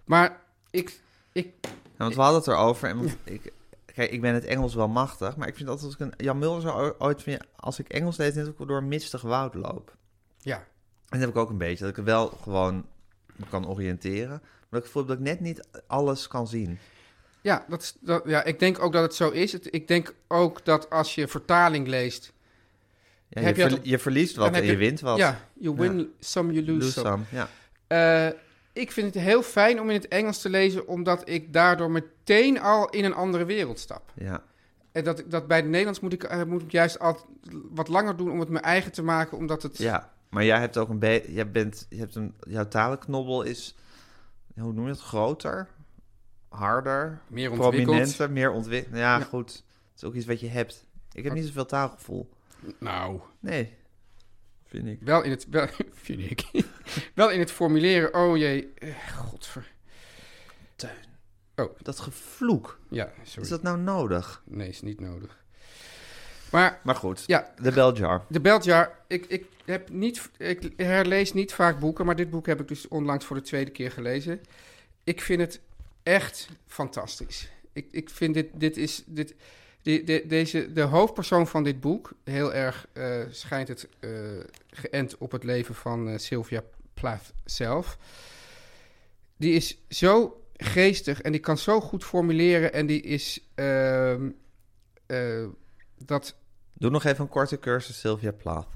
Maar ik, ik, Ja, want we hadden het erover. En want ik, kijk, ik ben het Engels wel machtig. Maar ik vind altijd als ik een. Jan Mulder zou o- ooit van je. Als ik Engels deed, net ook door een mistig woud loop. ja, En dat heb ik ook een beetje. Dat ik wel gewoon me kan oriënteren. Maar dat ik voel dat ik net niet alles kan zien. ja, dat, is- dat, ja, ik denk ook dat het zo is. Het- ik denk ook dat als je vertaling leest, Ja, je, Heb je dat verli- op- je verliest wat dan en heb je, wint wat. ja, you win some, you lose, Lose some. some, Ja. Eh, ik vind het heel fijn om in het Engels te lezen, omdat ik daardoor meteen al in een andere wereld stap. ja. En dat, dat bij het Nederlands moet ik, eh, moet ik juist al wat langer doen om het mijn eigen te maken, omdat het... Ja. Maar jij hebt ook een beetje. Jij bent. Je hebt een. Jouw talenknobbel is. Hoe noem je dat? Groter. Harder. Meer ontwikkeld. prominenter, meer ontwikkeld. Ja, goed. Het is ook iets wat je hebt. Ik heb niet zoveel taalgevoel. Nou, Nee. Vind ik. Wel in het, wel, vind ik, wel in het formuleren, oh jee, eh, godver. Dat gevloek. Ja, sorry. Is dat nou nodig? Nee, is niet nodig. Maar Maar goed. ja, De beljar. de Beltjar, ik, ik, heb niet, ik herlees niet vaak boeken, maar dit boek heb ik dus onlangs voor de tweede keer gelezen. Ik vind het echt fantastisch. Ik, ik vind dit, dit is, dit, de, de, deze, de hoofdpersoon van dit boek, heel erg eh, schijnt het eh, geënt op het leven van eh, Sylvia Plath zelf. Die is zo geestig en die kan zo goed formuleren en die is ehm, eh, dat Doe nog even een korte cursus Sylvia Plath.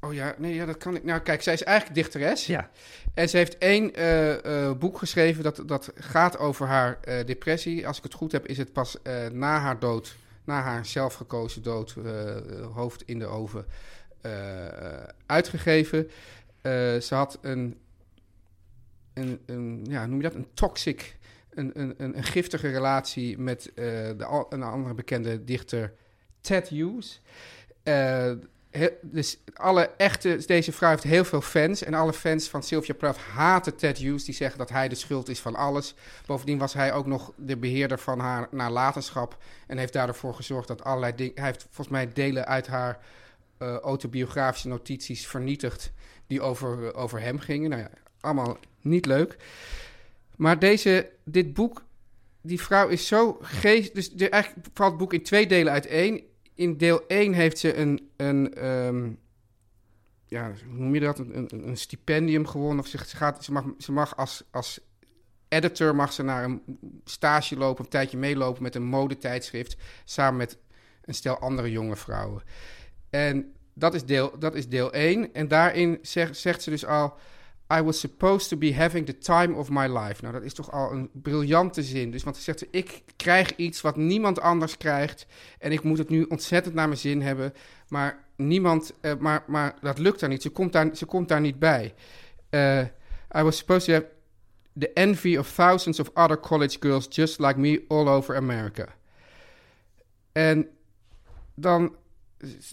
Oh ja, nee, ja, dat kan ik. Nou, kijk, zij is eigenlijk dichteres. Ja. En ze heeft één eh, eh, boek geschreven dat, dat gaat over haar eh, depressie. Als ik het goed heb, is het pas eh, na haar dood, na haar zelfgekozen dood, eh, hoofd in de oven, eh, uitgegeven. Eh, ze had een, een, een, ja, hoe noem je dat, een toxic, een, een, een, een giftige relatie met eh, de, al- een andere bekende dichter, Ted Hughes. Eh, He- dus alle echte, deze vrouw heeft heel veel fans. En alle fans van Sylvia Plath haten Ted Hughes. Die zeggen dat hij de schuld is van alles. Bovendien was hij ook nog de beheerder van haar nalatenschap. En heeft daarvoor gezorgd dat allerlei dingen... Hij heeft volgens mij delen uit haar eh, autobiografische notities vernietigd... die over, eh, over hem gingen. Nou ja, allemaal niet leuk. Maar deze, dit boek, die vrouw is zo geest... Dus de, eigenlijk valt het boek in twee delen uit één. In deel 1 heeft ze een, een ehm, ja, hoe noem je dat? Een, een, een stipendium gewonnen. Of ze, ze gaat, ze, mag, ze mag als, als editor mag ze naar een stage lopen, een tijdje meelopen met een modetijdschrift. Samen met een stel andere jonge vrouwen. En dat is deel, dat is deel 1. En daarin zegt, zegt ze dus al. I was supposed to be having the time of my life. Nou, dat is toch al een briljante zin. Dus, want ze zegt, ik krijg iets wat niemand anders krijgt. En ik moet het nu ontzettend naar mijn zin hebben. Maar niemand, eh, maar, maar dat lukt daar niet. Ze komt daar, ze komt daar niet bij. Eh, I was supposed to have the envy of thousands of other college girls just like me all over America. En dan,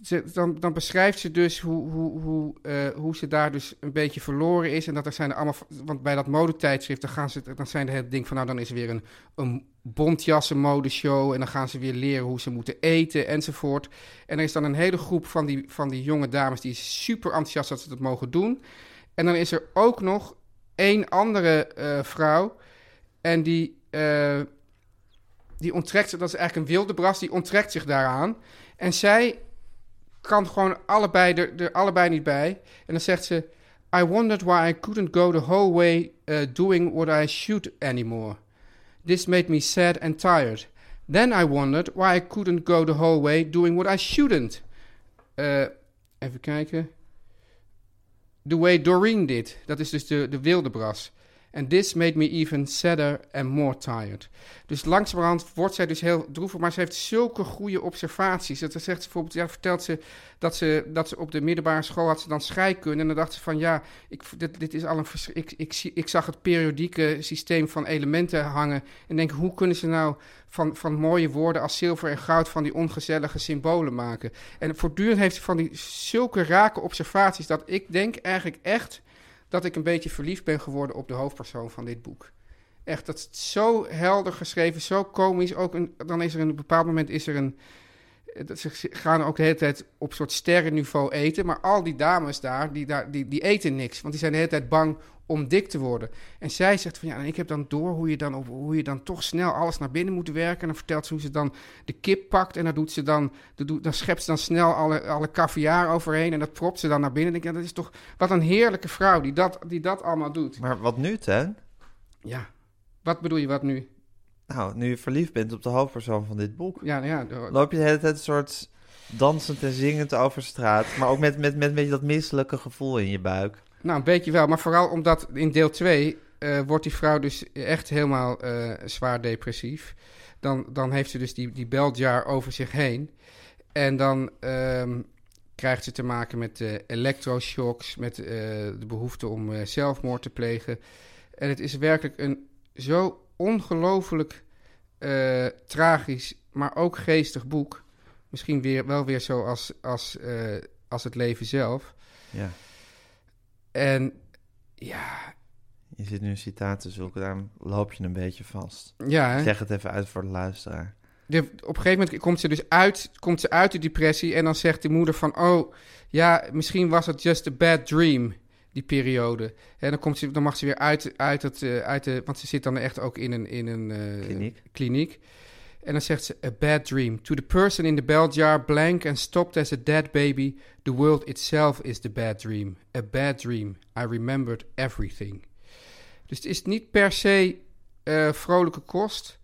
ze- dan, dan beschrijft ze dus hoe, hoe, hoe, eh, hoe ze daar dus een beetje verloren is. En dat er zijn er allemaal. Want bij dat modetijdschrift, dan, gaan ze, dan zijn er het ding van. Nou, dan is er weer een, een bontjassenmodeshow. En dan gaan ze weer leren hoe ze moeten eten enzovoort. En er is dan een hele groep van die, van die jonge dames die is super enthousiast dat ze dat mogen doen. En dan is er ook nog één andere eh, vrouw. En die. eh, die onttrekt zich, dat is eigenlijk een wilde bras, die onttrekt zich daaraan. En zij kan gewoon allebei er, er allebei niet bij. En dan zegt ze: I wondered why I couldn't go the whole way eh, doing what I should anymore. This made me sad and tired. Then I wondered why I couldn't go the whole way doing what I shouldn't. Eh, even kijken. The way Doreen did. Dat is dus de, de wilde bras. And this made me even sadder and more tired. Dus langzamerhand wordt zij dus heel droevig. Maar ze heeft zulke goede observaties. Dat ze zegt ze bijvoorbeeld, ja, vertelt ze dat, ze dat ze op de middelbare school had ze dan scheikunde. En dan dacht ze van ja, ik, dit, dit is al een vers- ik, ik, zie- ik zag het periodieke systeem van elementen hangen. En denk, hoe kunnen ze nou van, van mooie woorden als zilver en goud van die ongezellige symbolen maken? En voortdurend heeft ze van die zulke rake observaties dat ik denk eigenlijk echt dat ik een beetje verliefd ben geworden op de hoofdpersoon van dit boek. Echt, dat is zo helder geschreven, zo komisch. Ook een, dan is er een bepaald moment is er een. eh, Dat ze ze gaan ook de hele tijd op soort sterrenniveau eten. Maar al die dames daar, die, daar die, die eten niks. Want die zijn de hele tijd bang om dik te worden. En zij zegt van ja, en ik heb dan door hoe je dan, op, hoe je dan toch snel alles naar binnen moet werken. En dan vertelt ze hoe ze dan de kip pakt. En dan, doet ze dan, dan doet- dan schept ze dan snel alle, alle caviar overheen. En dat propt ze dan naar binnen. En ik denk, ja, dat is toch wat een heerlijke vrouw die dat, die dat allemaal doet. Maar wat nu, Teun? Ja. Wat bedoel je, wat nu? Nou, nu je verliefd bent op de hoofdpersoon van dit boek, Ja, ja. de- loop je de hele tijd een soort dansend en zingend over straat. Maar ook met, met, met een beetje dat misselijke gevoel in je buik. Nou, een beetje wel. Maar vooral omdat in deel 2 wordt die vrouw dus echt helemaal eh, zwaar depressief. Dan, dan heeft ze dus die, die beltjaar over zich heen. En dan ehm, krijgt ze te maken met eh elektroshocks, met eh, de behoefte om eh, zelfmoord te plegen. En het is werkelijk een zo ongelooflijk eh, tragisch, maar ook geestig boek. Misschien weer, wel weer zo als, als, eh, als het leven zelf. Ja, En ja, je zit nu een citaat te zoeken, daarom loop je een beetje vast. Ja, hè? Zeg het even uit voor de luisteraar. De- op een gegeven moment komt ze dus uit, komt ze uit de depressie en dan zegt de moeder van, oh, ja, misschien was het just a bad dream, die periode. En dan, komt ze, dan mag ze weer uit, uit, het, eh, uit de, want ze zit dan echt ook in een, in een eh, Kliniek. kliniek. En dan zegt ze, a bad dream. To the person in the bell jar, blank and stopped as a dead baby, the world itself is the bad dream. A bad dream. I remembered everything. Dus het is niet per se eh, vrolijke kost,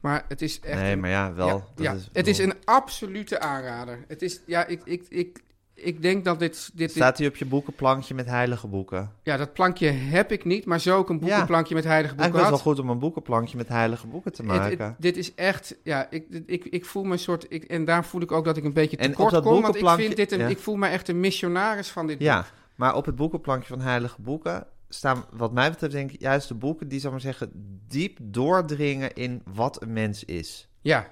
maar het is echt nee, een- maar ja, wel. ja, ja. het is een absolute aanrader. Het is, ja, ik, ik, ik, ik denk dat dit, dit, dit- Staat hij op je boekenplankje met heilige boeken? Ja, dat plankje heb ik niet, maar zo ook een Ja. boekenplankje met heilige boeken Eigenlijk was had. het wel goed om een boekenplankje met heilige boeken te Het- het- maken. dit is echt, ja, ik, dit- ik, ik voel me een soort, ik, en daar voel ik ook dat ik een beetje En op tekort dat kom, want ik boekenplankje- vind dit, een, ja. ik voel me echt een missionaris van dit ja, maar op het boekenplankje van heilige boeken staan, wat mij betreft, denk ik juist de boeken die, zal ik maar zeggen, diep doordringen in wat een mens is. Ja,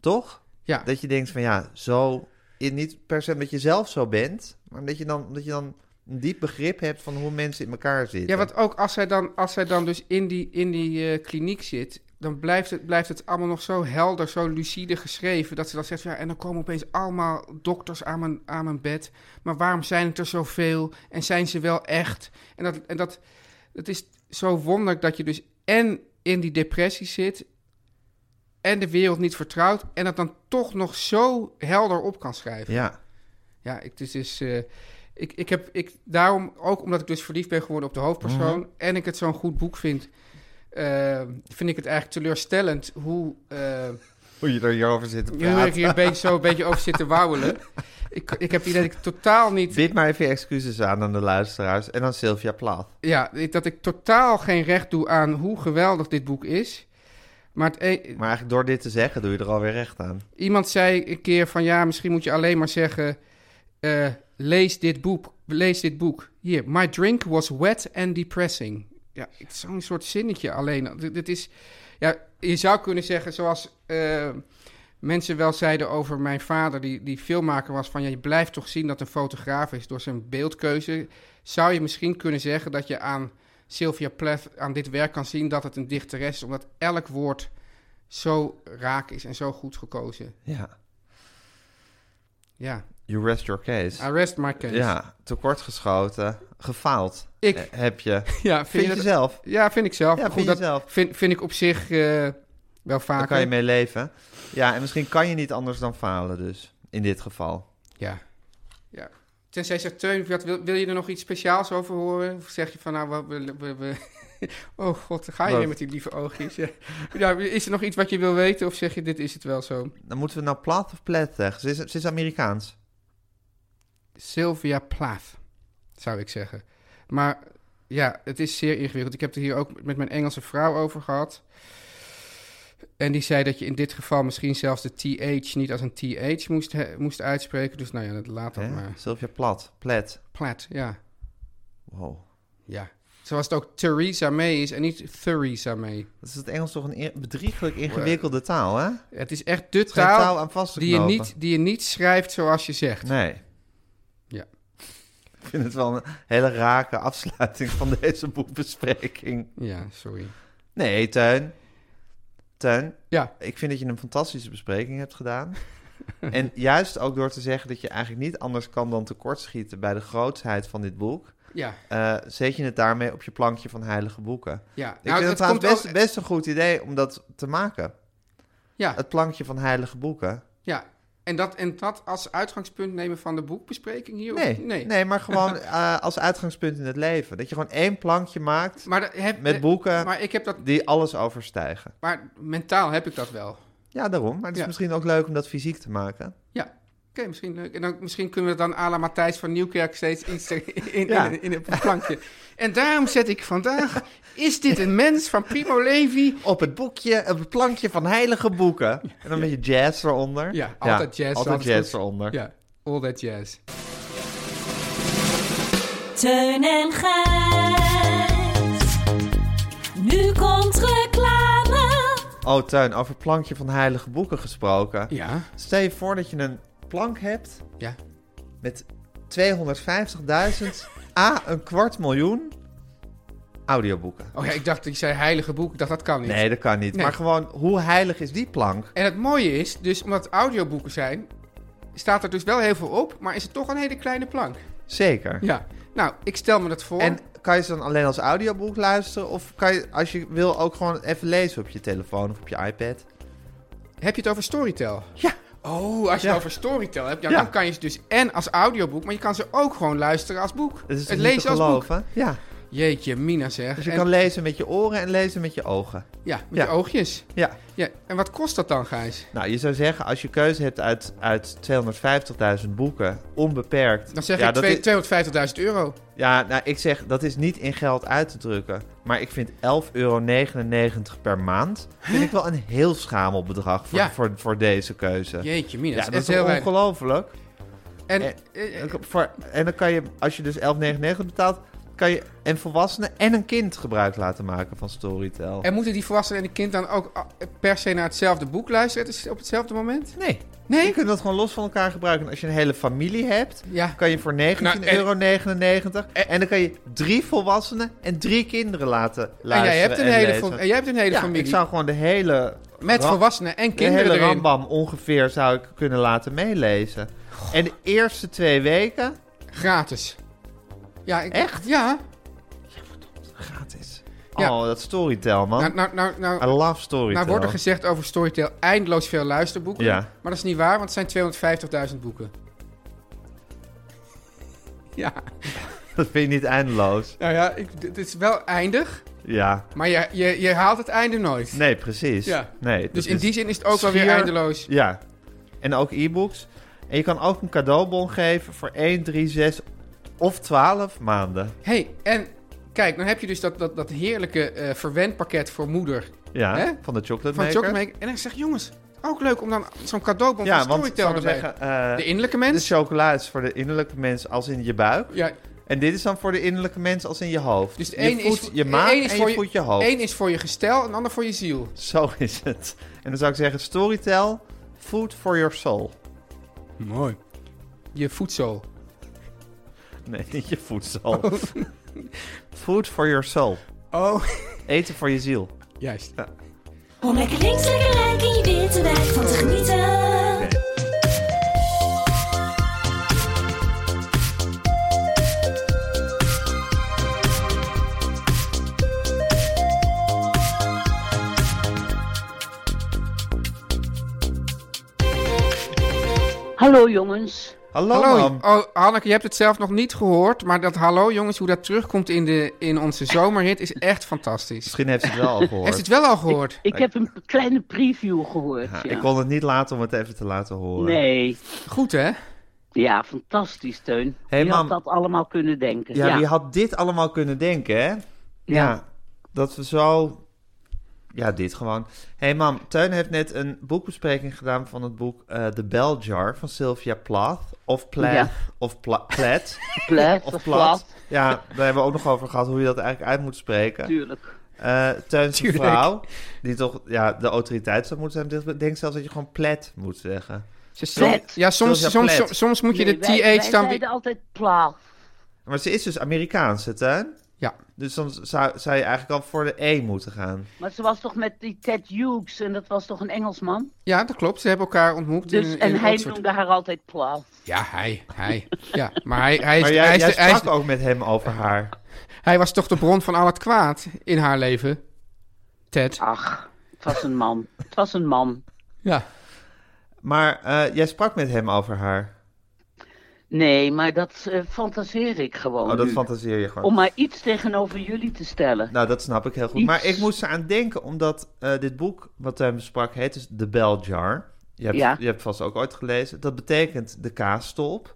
Toch? ja, Dat je denkt van ja, zo. in- Niet per se dat je zelf zo bent, maar dat je dan, dat je dan een diep begrip hebt van hoe mensen in elkaar zitten. Ja, want ook als zij dan, als zij dan dus in die, in die eh, kliniek zit, dan blijft het, blijft het allemaal nog zo helder, zo lucide geschreven. Dat ze dan zegt, van, ja, en dan komen opeens allemaal dokters aan mijn, aan mijn bed. Maar waarom zijn het er zoveel? En zijn ze wel echt? En dat, en dat, dat is zo wonderlijk dat je dus en in die depressie zit... en de wereld niet vertrouwt... en dat dan toch nog zo helder op kan schrijven. Ja, Ja, ik, dus, is, eh, ik, ik heb ik, daarom ook omdat ik dus verliefd ben geworden op de hoofdpersoon en ik het zo'n goed boek vind, eh, vind ik het eigenlijk teleurstellend hoe... eh, Hoe je er hierover zit te Nu heb ik praten. hier een beetje, zo een beetje over zitten wauwelen. Ik, ik heb het idee dat ik totaal niet... Bied maar even je excuses aan aan de luisteraars. En aan Sylvia Plath. Ja, ik- dat ik totaal geen recht doe aan hoe geweldig dit boek is. Maar het e- Maar eigenlijk door dit te zeggen doe je er alweer recht aan. iemand zei een keer van... Ja, misschien moet je alleen maar zeggen... eh, lees dit boek, lees dit boek. Hier, my drink was wet and depressing. Ja, het is zo'n soort zinnetje alleen. Dit, dit is... Ja, je zou kunnen zeggen zoals... eh, mensen wel zeiden over mijn vader, die, die filmmaker was, van ja, je blijft toch zien dat een fotograaf is door zijn beeldkeuze. Zou je misschien kunnen zeggen dat je aan Sylvia Plath, aan dit werk kan zien dat het een dichteres is, omdat elk woord zo raak is en zo goed gekozen. Ja. Ja, You rest your case. arrest my case. Ja, tekortgeschoten. Gefaald. Ik- eh, Heb je. Vind, Ja, vind, je je dat- zelf. Ja, vind ik zelf. Ja, Maar vind je dat zelf. Vind, vind ik op zich eh, wel Daar vaker. kan je mee leven. Ja, en misschien kan je niet anders dan falen dus. In dit geval. Ja. ja. Tenzij je zegt, Teun, wat wil, wil je er nog iets speciaals over horen? Of zeg je van, nou, wat- we, we, we- oh god, dan ga je Wat? weer met die lieve oogjes. Ja. Ja, is er nog iets wat je wil weten? Of zeg je, dit is het wel zo? Dan moeten we nou plat of plat zeggen. Ze is, ze is Amerikaans. Sylvia Plath, zou ik zeggen. Maar ja, het is zeer ingewikkeld. Ik heb het hier ook met mijn Engelse vrouw over gehad. En die zei dat je in dit geval misschien zelfs de TH niet als een TH moest, he- moest uitspreken. Dus nou ja, dat laat dat Hè? maar. Sylvia Plat. Plat. Plath, ja. Wow. Ja. Zoals het ook Theresa May is en niet Theresa May. Dat is het Engels toch een eer- bedrieglijk ingewikkelde taal, hè? Het is echt de Geen taal taal aan vast te die je, knopen. niet, die je niet schrijft zoals je zegt. Nee. Ja. Ik vind het wel een hele rake afsluiting van deze boekbespreking. Ja, sorry. Nee, Tuin. Tuin, Ja, ik vind dat je een fantastische bespreking hebt gedaan. en juist ook door te zeggen dat je eigenlijk niet anders kan dan tekortschieten bij de grootsheid van dit boek, ja, eh, zet je het daarmee op je plankje van heilige boeken. ja. Nou, Ik vind het trouwens komt best, ook- best een goed idee om dat te maken. Ja, Het plankje van heilige boeken. ja. En dat, en dat als uitgangspunt nemen van de boekbespreking hier? of- Nee, nee. nee. maar gewoon eh, als uitgangspunt in het leven. Dat je gewoon één plankje maakt Maar dat heb, Met eh, boeken. Maar, ik heb dat, die alles overstijgen. maar mentaal heb ik dat wel. Ja, daarom. Maar het is Ja. misschien ook leuk om dat fysiek te maken. Ja, oké, misschien leuk. En dan, misschien kunnen we dan à la Matthijs van Nieuwkerk steeds iets er- in, in, Ja. in, het plankje. En daarom zet ik vandaag... Is dit een mens van Primo Levi? Op het boekje, op het plankje van heilige boeken. En dan een beetje jazz eronder. Ja, altijd jazz, Altijd alles jazz goed. eronder. Ja, all that jazz. Teun en Gijs. Nu komt reclame. Oh, Tuin, over plankje van heilige boeken gesproken. Ja, Stel je voor dat je een plank hebt ja. met 250.000, a een kwart miljoen audioboeken. Oh ja, ik dacht, ik zei heilige boek. Ik dacht, dat kan niet. Nee, dat kan niet. Nee. Maar gewoon, hoe heilig is die plank? En het mooie is, dus omdat het audioboeken zijn, staat er dus wel heel veel op, maar is het toch een hele kleine plank. Zeker. Ja. Nou, ik stel me dat voor. En kan je ze dan alleen als audioboek luisteren? Of kan je, als je wil, ook gewoon even lezen op je telefoon of op je iPad? Heb je het over Storytel? Ja. Oh, als je Ja. het over Storytel hebt, ja, Ja. dan kan je ze dus en als audioboek, maar je kan ze ook gewoon luisteren als boek. Dat het is toch niet te lezen als boek. geloven? Ja. Jeetje, Mina zeg. Dus je En- kan lezen met je oren en lezen met je ogen. ja, met Ja. je oogjes. Ja. Ja. En wat kost dat dan, Gijs? Nou, je zou zeggen, als je keuze hebt uit, uit 250.000 boeken, onbeperkt. Dan zeg ja, ik dat twee- is- 250.000 euro. ja, nou, ik zeg, dat is niet in geld uit te drukken. Maar ik vind 11,99 euro per maand vind ik wel een heel schamel bedrag voor, Ja. voor, voor deze keuze. Jeetje, Mina. ja, dat dat is is heel toch weinig. ongelooflijk. En, En- eh, eh, En voor- En dan kan je, als je dus 11,99 betaalt, kan je een volwassene en een kind gebruik laten maken van Storytel. en moeten die volwassenen en de kind dan ook ah, per se naar hetzelfde boek luisteren het is op hetzelfde moment? Nee. Nee? Je kunt dat gewoon los van elkaar gebruiken. En Als je een hele familie hebt, Ja. kan je voor 19,99 Nou, en- euro... en, dan kan je drie volwassenen en drie kinderen laten luisteren En jij hebt een hele, lezen. fam- en jij hebt een hele ja, familie. ik zou gewoon de hele... Met ra- volwassenen en De kinderen hele erin. rambam ongeveer zou ik kunnen laten meelezen. En de eerste twee weken Gratis. Ja, ik, Echt? Ja. gratis. Ja. Oh, dat Storytel, man. Nou, nou, nou, nou, I love Storytel. nou wordt er gezegd over Storytel eindeloos veel luisterboeken. Ja. Maar dat is niet waar, want het zijn 250.000 boeken. Ja. Dat vind je niet eindeloos. Nou ja, ik, dit is wel eindig. Ja, Maar je, je, je haalt het einde nooit. nee, precies. Ja. Nee, dat Dus in is- die zin is het ook wel weer schier- eindeloos. Ja. En ook e-books. En je kan ook een cadeaubon geven voor 1, 3, 6 of 12 maanden. hey, en kijk, dan heb je dus dat, dat, dat heerlijke eh verwendpakket voor moeder Ja, Hè? van de chocolate van maker. Chocolate En dan zeg ik, jongens, ook leuk om dan zo'n cadeaubon Ja, van want ik Storytel zou erbij. zeggen, eh, de innerlijke de mens? chocola is voor de innerlijke mens als in je buik. Ja, En dit is dan voor de innerlijke mens als in je hoofd. Dus de je een is voedt voor- je de maag een is en voor je je- voedt je hoofd. één is voor je gestel en ander voor je ziel. Zo is het. En dan zou ik zeggen, Storytel, food for your soul. Mooi. Je voedsel. Nee, niet je voedsel. food for your soul. Oh, Eten voor je ziel. juist. Om lekker links, lekker rijk in je witte wijk van te genieten. Hallo jongens. Hallo, hallo. mam. Oh, Hanneke, je hebt het zelf nog niet gehoord, maar dat hallo jongens, hoe dat terugkomt in, de, in onze zomerhit is echt fantastisch. Misschien heeft ze het wel al gehoord. Heeft het wel al gehoord? Ik heb een p- kleine preview gehoord. Ja, Ja, Ik kon het niet laten om het even te laten horen. Nee. Goed, hè? Ja, fantastisch, Teun. Hey, Je had mam. dat allemaal kunnen denken. Ja, Ja, wie had dit allemaal kunnen denken, hè? Ja. dat we zo... Ja, dit gewoon. Hé hey, mam, Teun heeft net een boekbespreking gedaan van het boek eh The Bell Jar van Sylvia Plath. Of Plath, Ja. of Pla Plath. Plat of of Plath. plat, Ja, daar hebben we ook nog over gehad hoe je dat eigenlijk uit moet spreken. tuurlijk. Eh Teun zijn Tuurlijk. vrouw, die toch ja, de autoriteit zou moeten zijn. Ik denk zelfs dat je gewoon Plath moet zeggen. Ze Plet. Ja, soms, Sylvia soms, Plet. soms, soms moet je Nee, de wij, wij TH dan zeiden weer... altijd plat. Maar ze is dus Amerikaans, hè, Teun? Ja. Dus dan zou, zou je eigenlijk al voor de E moeten gaan. Maar ze was toch met die Ted Hughes en dat was toch een Engelsman? ja, dat klopt. Ze hebben elkaar ontmoet Dus, in, in en hij Oxford. noemde haar altijd plat. Ja, hij. hij. Ja, maar hij, hij, is, Maar jij, hij, is jij de- hij, is- sprak ook met hem over haar. hij was toch de bron van al het kwaad in haar leven? Ted. Ah, Ach, het was een man. Het was een man. Ja. Maar eh, jij sprak met hem over haar. Nee, maar dat eh, fantaseer ik gewoon Oh, dat nu. fantaseer je gewoon. Om maar iets tegenover jullie te stellen. Nou, dat snap ik heel goed. Iets. Maar ik moest eraan denken, omdat eh, dit boek wat hij besprak heet dus The Bell Jar. Je hebt, Ja. je hebt vast ook ooit gelezen. Dat betekent de kaasstolp.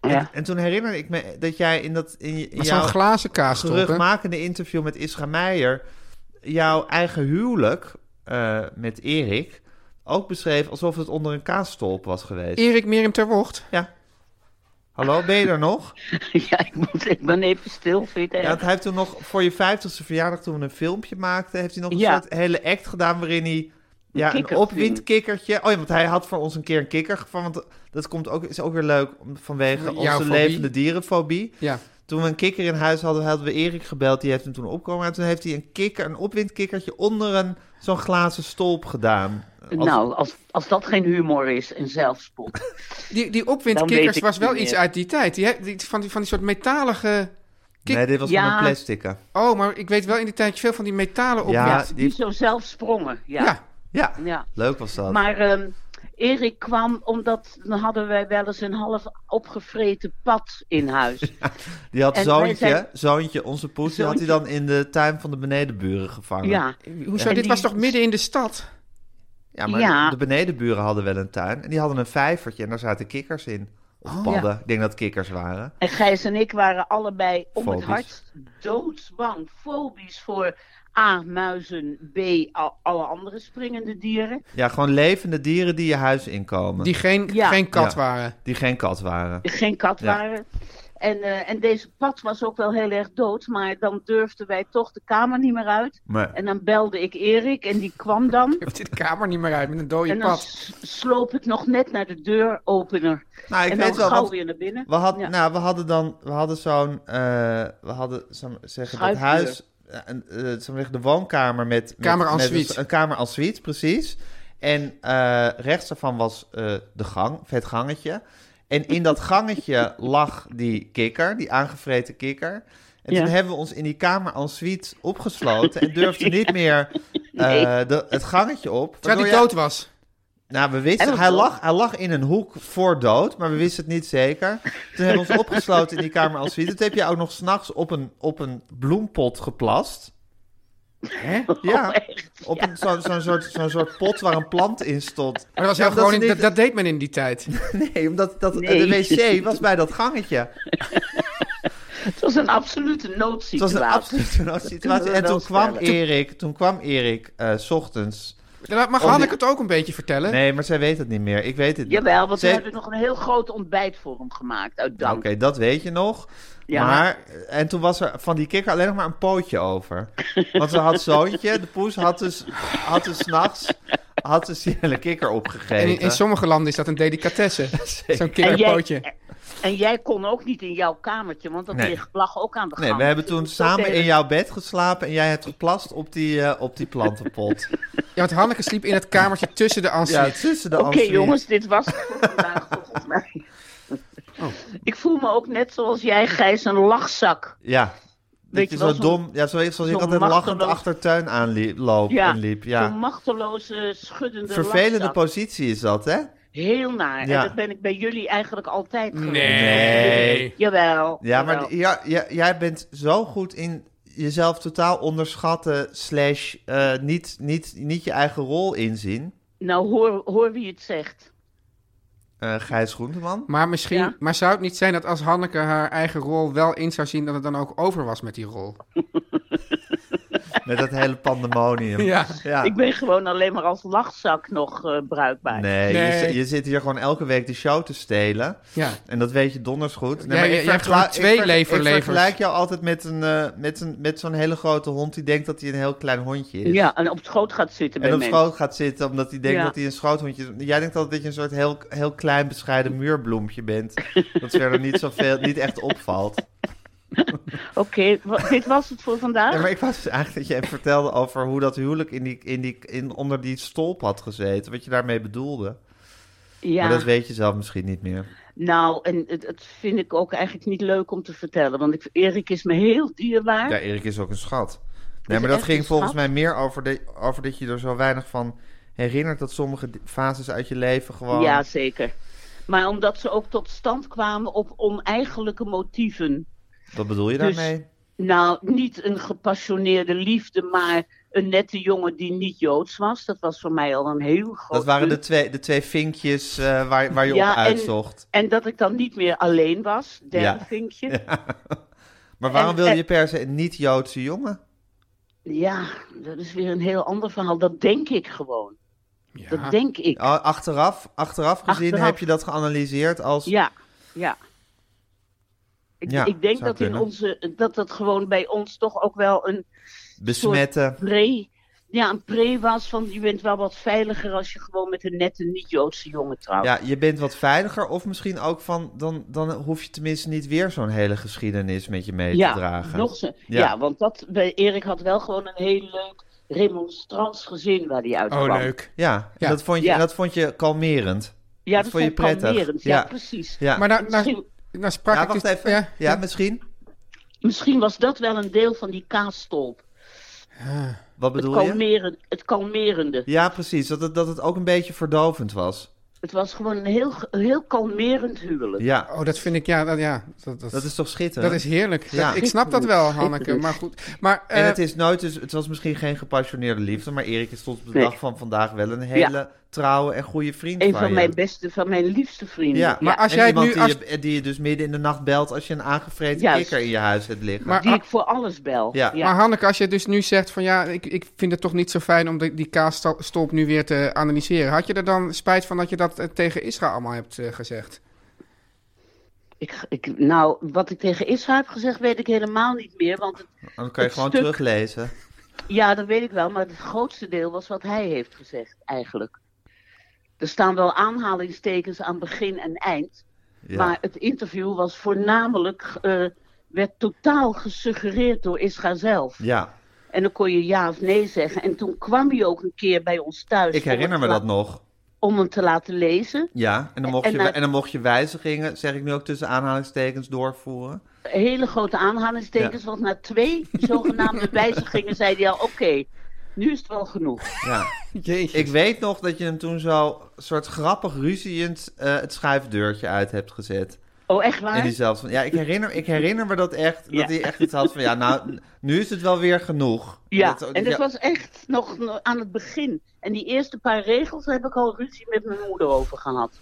En, Ja. en toen herinner Nou, ik me dat jij in, dat, in, je- in Maar zo'n jouw glazen kaas terugmakende interview met Isra Meijer... jouw eigen huwelijk eh, met Erik ook beschreef alsof het onder een kaasstolp was geweest. Erik Miriam ter Wocht. Ja. Hallo, ben je er nog? Ja, ik, moet, ik ben even stil, vind je het Ja, erg? want hij heeft toen nog voor je vijftigste verjaardag toen we een filmpje maakten, heeft hij nog een Ja. soort hele act gedaan waarin hij ja, een kikkerfilm. opwindkikkertje. Oh ja, want hij had voor ons een keer een kikker gevangen. Want dat komt ook, is ook weer leuk om- vanwege Jouw onze fobie. levende dierenfobie. Ja. Toen we een kikker in huis hadden, hadden we Erik gebeld. Die heeft hem toen opgekomen. En toen heeft hij een kikker, een opwindkikkertje onder een zo'n glazen stolp gedaan. Als- Nou, als, als dat geen humor is en zelfspot. Die, die Dan weet opwindkikkers ik was wel niet iets meer. uit die tijd. Die, he- die- van, die, van die soort metalige... kik- Nee, dit was Ja. gewoon een plastieke. Oh, maar ik weet wel in die tijd veel van die metalen opwind. Ja, Die, die, zo zelf sprongen, ja. Ja. ja. ja, leuk was dat. Maar ehm, Erik kwam omdat dan hadden wij wel eens een half opgevreten pad in huis. Die had En zoontje, wij zijn- zoontje, onze poes, die had hij dan in de tuin van de benedenburen gevangen. Ja, Hoezo, En dit die- was toch midden in de stad? Ja, maar Ja. de benedenburen hadden wel een tuin en die hadden een vijvertje en daar zaten kikkers in. Of Oh, padden, ik denk dat het kikkers waren. en Gijs en ik waren allebei om Fobisch. het hart doodsbang. Fobisch voor A, muizen, B, al, alle andere springende dieren. Ja, gewoon levende dieren die je huis inkomen. Die Die, geen, Ja. geen kat Ja. waren. geen kat waren. geen kat Ja. waren. En, eh, en deze pad was ook wel heel erg dood, maar dan durfden wij toch de kamer niet meer uit. Maar, En dan belde ik Erik en die kwam dan. Je hebt dit kamer niet meer uit met een dode En dan pad. s- sloop het nog net naar de deuropener. nou, ik en dan weet wel, gauw want weer naar binnen. we, had, Ja. nou, we hadden dan, we hadden zo'n, eh, we hadden, zal ik maar zeggen, dat Schuifdeur. huis, eh, een, eh, zal ik maar zeggen, de woonkamer met... met- Kamer en met een- suite. Een kamer en suite, precies. En eh, rechts daarvan was eh, de gang, vet gangetje. En in dat gangetje lag die kikker, die aangevreten kikker. En Ja. toen hebben we ons in die kamer en suite opgesloten en durfden niet meer eh, Nee. de, het gangetje op. Terwijl waardoor die je- dood was. nou, we En wisten, dat hij dood. lag, hij lag in een hoek voor dood, maar we wisten het niet zeker. Toen hebben we ons opgesloten in die kamer als suite. Toen heb je ook nog s'nachts op een, op een bloempot geplast. Hè? Oh, Ja. echt? Op een- zo'n zo'n soort, zo'n soort pot waar een plant in stond. Maar dat, was Ja, heel omdat gewoon ze in- dat, niet- dat deed men in die tijd. Nee, omdat dat, Nee. de wc was bij dat gangetje. Het was een absolute Het was noodsituatie. een absolute noodsituatie. En toen kwam Erik, toen kwam Erik eh, s ochtends. Ja, Mag Oh, Hanneke nee. het ook een beetje vertellen? Nee, maar zij weet het niet meer. Ik weet het niet. Jawel, want we Zij- Nou, hebben nog een heel groot ontbijt voor hem gemaakt uit Oké, dank. dat weet je nog. Ja. Maar, en toen was er van die kikker alleen nog maar een pootje over. Want ze had zoontje, de poes, had dus, had dus s'nachts had dus die hele kikker En opgegeten. in, in sommige landen is dat een delicatesse. Zo'n En jij- kinderpootje. En jij kon ook niet in jouw kamertje, want dat Nee. ligt- lag ook aan de gang. Nee, we hebben Dus toen dat deed samen het- in jouw bed geslapen en jij hebt geplast op die, eh, op die plantenpot. Ja, want Hanneke sliep in het kamertje tussen de Ja, ensuite. tussen de Oké ensuite. jongens, dit was het voor vandaag volgens mij. Oh. Ik voel me ook net zoals jij, Gijs, een lachzak. Ja. Weet Dat je je wel, zo zo'n- dom, ja, zoals, zoals ik zo'n altijd lachend machteloos- achtertuin aanliep loop, Ja, en liep. zo'n Ja. machteloze, schuddende Vervelende lachzak. positie is dat, hè? Heel naar. Ja. En dat ben ik bij jullie eigenlijk altijd geweest. Nee. Jawel. Ja, jawel. maar ja, ja, jij bent zo goed in jezelf totaal onderschatten, slash eh, niet, niet, niet je eigen rol inzien. Nou, hoor, hoor wie het zegt. Eh Gijs Groenteman. Maar misschien, Ja. maar zou het niet zijn dat als Hanneke haar eigen rol wel in zou zien, dat het dan ook over was met die rol? Met dat hele pandemonium. Ja. Ja. Ik ben gewoon alleen maar als lachzak nog eh, bruikbaar. Nee, Nee. Je, zi- je zit hier gewoon elke week de show te stelen. Ja. En dat weet je donders goed. Nee, Jij- maar jij ik hebt vergela- gewoon twee ik ver- leverlevers. Ik vergelijk jou altijd met, een, eh, met, een, met zo'n hele grote hond die denkt dat hij een heel klein hondje is. Ja, en op schoot gaat zitten bij En op mensen. schoot gaat zitten omdat hij denkt Ja. dat hij een schoothondje is. Jij denkt altijd dat je een soort heel, heel klein bescheiden muurbloempje bent. Dat verder niet, zoveel, niet echt opvalt. Oké, wa- dit was het voor vandaag. Ja, maar ik was dus eigenlijk dat je even vertelde over hoe dat huwelijk in die, in die, in, onder die stolp had gezeten. Wat je daarmee bedoelde. Ja. Maar dat weet je zelf misschien niet meer. Nou, en het, het vind ik ook eigenlijk niet leuk om te vertellen. Want ik, Erik is me heel dierbaar. Ja, Erik is ook een schat. Nee, Is maar dat echt ging een volgens schat. mij meer over, de, over dat je er zo weinig van herinnert dat sommige di- fases uit je leven gewoon... Ja, zeker. Maar omdat ze ook tot stand kwamen op oneigenlijke motieven. Wat bedoel je Dus- daarmee? Nou, niet een gepassioneerde liefde, maar een nette jongen die niet Joods was. Dat was voor mij al een heel groot dat waren de punt. twee, de twee vinkjes eh, waar, waar je Ja, op en- uitzocht. En dat ik dan niet meer alleen was, derde Ja. vinkje. Maar waarom En- eh, wil en- je per se een niet-Joodse jongen? Ja, dat is weer een heel ander verhaal. Dat denk ik gewoon. Dat denk ik. A- Achteraf, achteraf gezien Achteraf. heb je dat geanalyseerd als... Ja, ja. Ik, Ja, ik denk zou dat, in kunnen. onze, dat dat gewoon bij ons toch ook wel een Besmetten. pre, ja, een pre was van je bent wel wat veiliger als je gewoon met een nette niet-Joodse jongen trouwt. Ja, je bent wat veiliger of misschien ook van... Dan, dan hoef je tenminste niet weer zo'n hele geschiedenis met je mee Ja, te dragen. nog ze, ja. Ja. want dat, bij Erik had wel gewoon een heel leuk remonstrantsgezin waar hij uit Oh, kwam. leuk. Ja, Ja. En, dat vond je, Ja. en dat vond je kalmerend. Ja, Dat dat vond je vond ik prettig. kalmerend. Ja, Ja. precies. Ja, Maar nou, nou, Misschien, nou sprak Ja, ik wacht dus- even. Ja, Ja, misschien? misschien was dat wel een deel van die kaasstolp. Wat Het, bedoel je? kalmeren, het kalmerende. Ja, precies. Dat het, dat het ook een beetje verdovend was. Het was gewoon een heel, een heel kalmerend huwelijk. Ja, Oh, dat vind ik, ja, dat, ja, dat, dat, dat is toch schitterend? dat is heerlijk. Ja. Dat- ik snap dat wel, Hanneke, maar goed. Maar, En eh, het is nooit, dus het was misschien geen gepassioneerde liefde, maar Erik is tot op de Nee. dag van vandaag wel een hele trouwe en goede vriend Een van, van je. mijn beste, van mijn liefste vrienden. Ja, maar als En jij het iemand nu... die, Als, je, die je dus midden in de nacht belt als je een aangevreten Juist. kikker in je huis hebt liggen. Maar- die ik voor alles bel. Ja. Maar Hanneke, als je dus nu zegt van ja, ik, ik vind het toch niet zo fijn om die, die kaasstolp nu weer te analyseren. Had je er dan spijt van dat je dat eh, tegen Israël allemaal hebt eh, gezegd? Ik, ik, nou, wat ik tegen Israël heb gezegd, weet ik helemaal niet meer. Want het, Dan kan je het gewoon stuk- teruglezen. ja, dat weet ik wel. Maar het grootste deel was wat hij heeft gezegd, eigenlijk. Er staan wel aanhalingstekens aan begin en eind. Ja. Maar het interview was voornamelijk. eh, werd totaal gesuggereerd door Israël zelf. ja, En dan kon je ja of nee zeggen. En toen kwam hij ook een keer bij ons thuis. ik om herinner het me te dat la- nog. Om hem te laten lezen. Ja, en dan mocht, En je, nou- en dan mocht je wijzigingen, zeg ik nu ook tussen aanhalingstekens, doorvoeren. hele grote aanhalingstekens, want na twee zogenaamde wijzigingen zei hij al: oké, nu is het wel genoeg. Ja. Jeetje. ik weet nog dat je hem toen zo soort grappig ruziend eh, het schuifdeurtje uit hebt gezet. Oh, echt En waar? die zelfs van, ja, ik herinner, ik herinner me dat echt. Ja. Dat hij echt iets had van, ja, nou, nu is het wel weer genoeg. Ja, Dat- en dat ja, was echt nog nog aan het begin. En die eerste paar regels daar heb ik al ruzie met mijn moeder over gehad.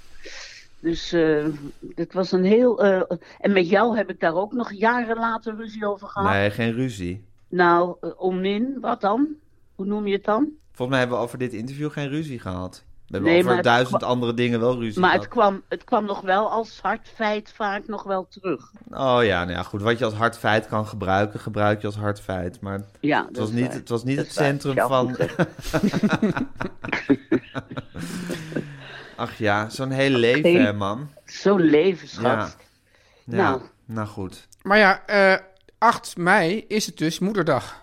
Dus eh dat was een heel. eh, en met jou heb ik daar ook nog jaren later ruzie over gehad. Nee, geen ruzie. Nou, eh, onmin, wat dan? Hoe noem je het dan? Volgens mij hebben we over dit interview geen ruzie gehad. We hebben Nee, maar over het duizend kwa- andere dingen wel ruzie Maar het gehad. kwam, het kwam nog wel als hard feit vaak nog wel terug. Oh ja, nou ja, goed. Wat je als hard feit kan gebruiken, gebruik je als hard feit. Maar het Ja, dat was is niet waar. het, was niet Dat het is waar. centrum Ja, van... goed gezegd. Ach ja, zo'n heel leven, hè, man. Zo'n levensschat. Ja. Nou. nou goed. Maar ja, eh 8 mei is het dus moederdag.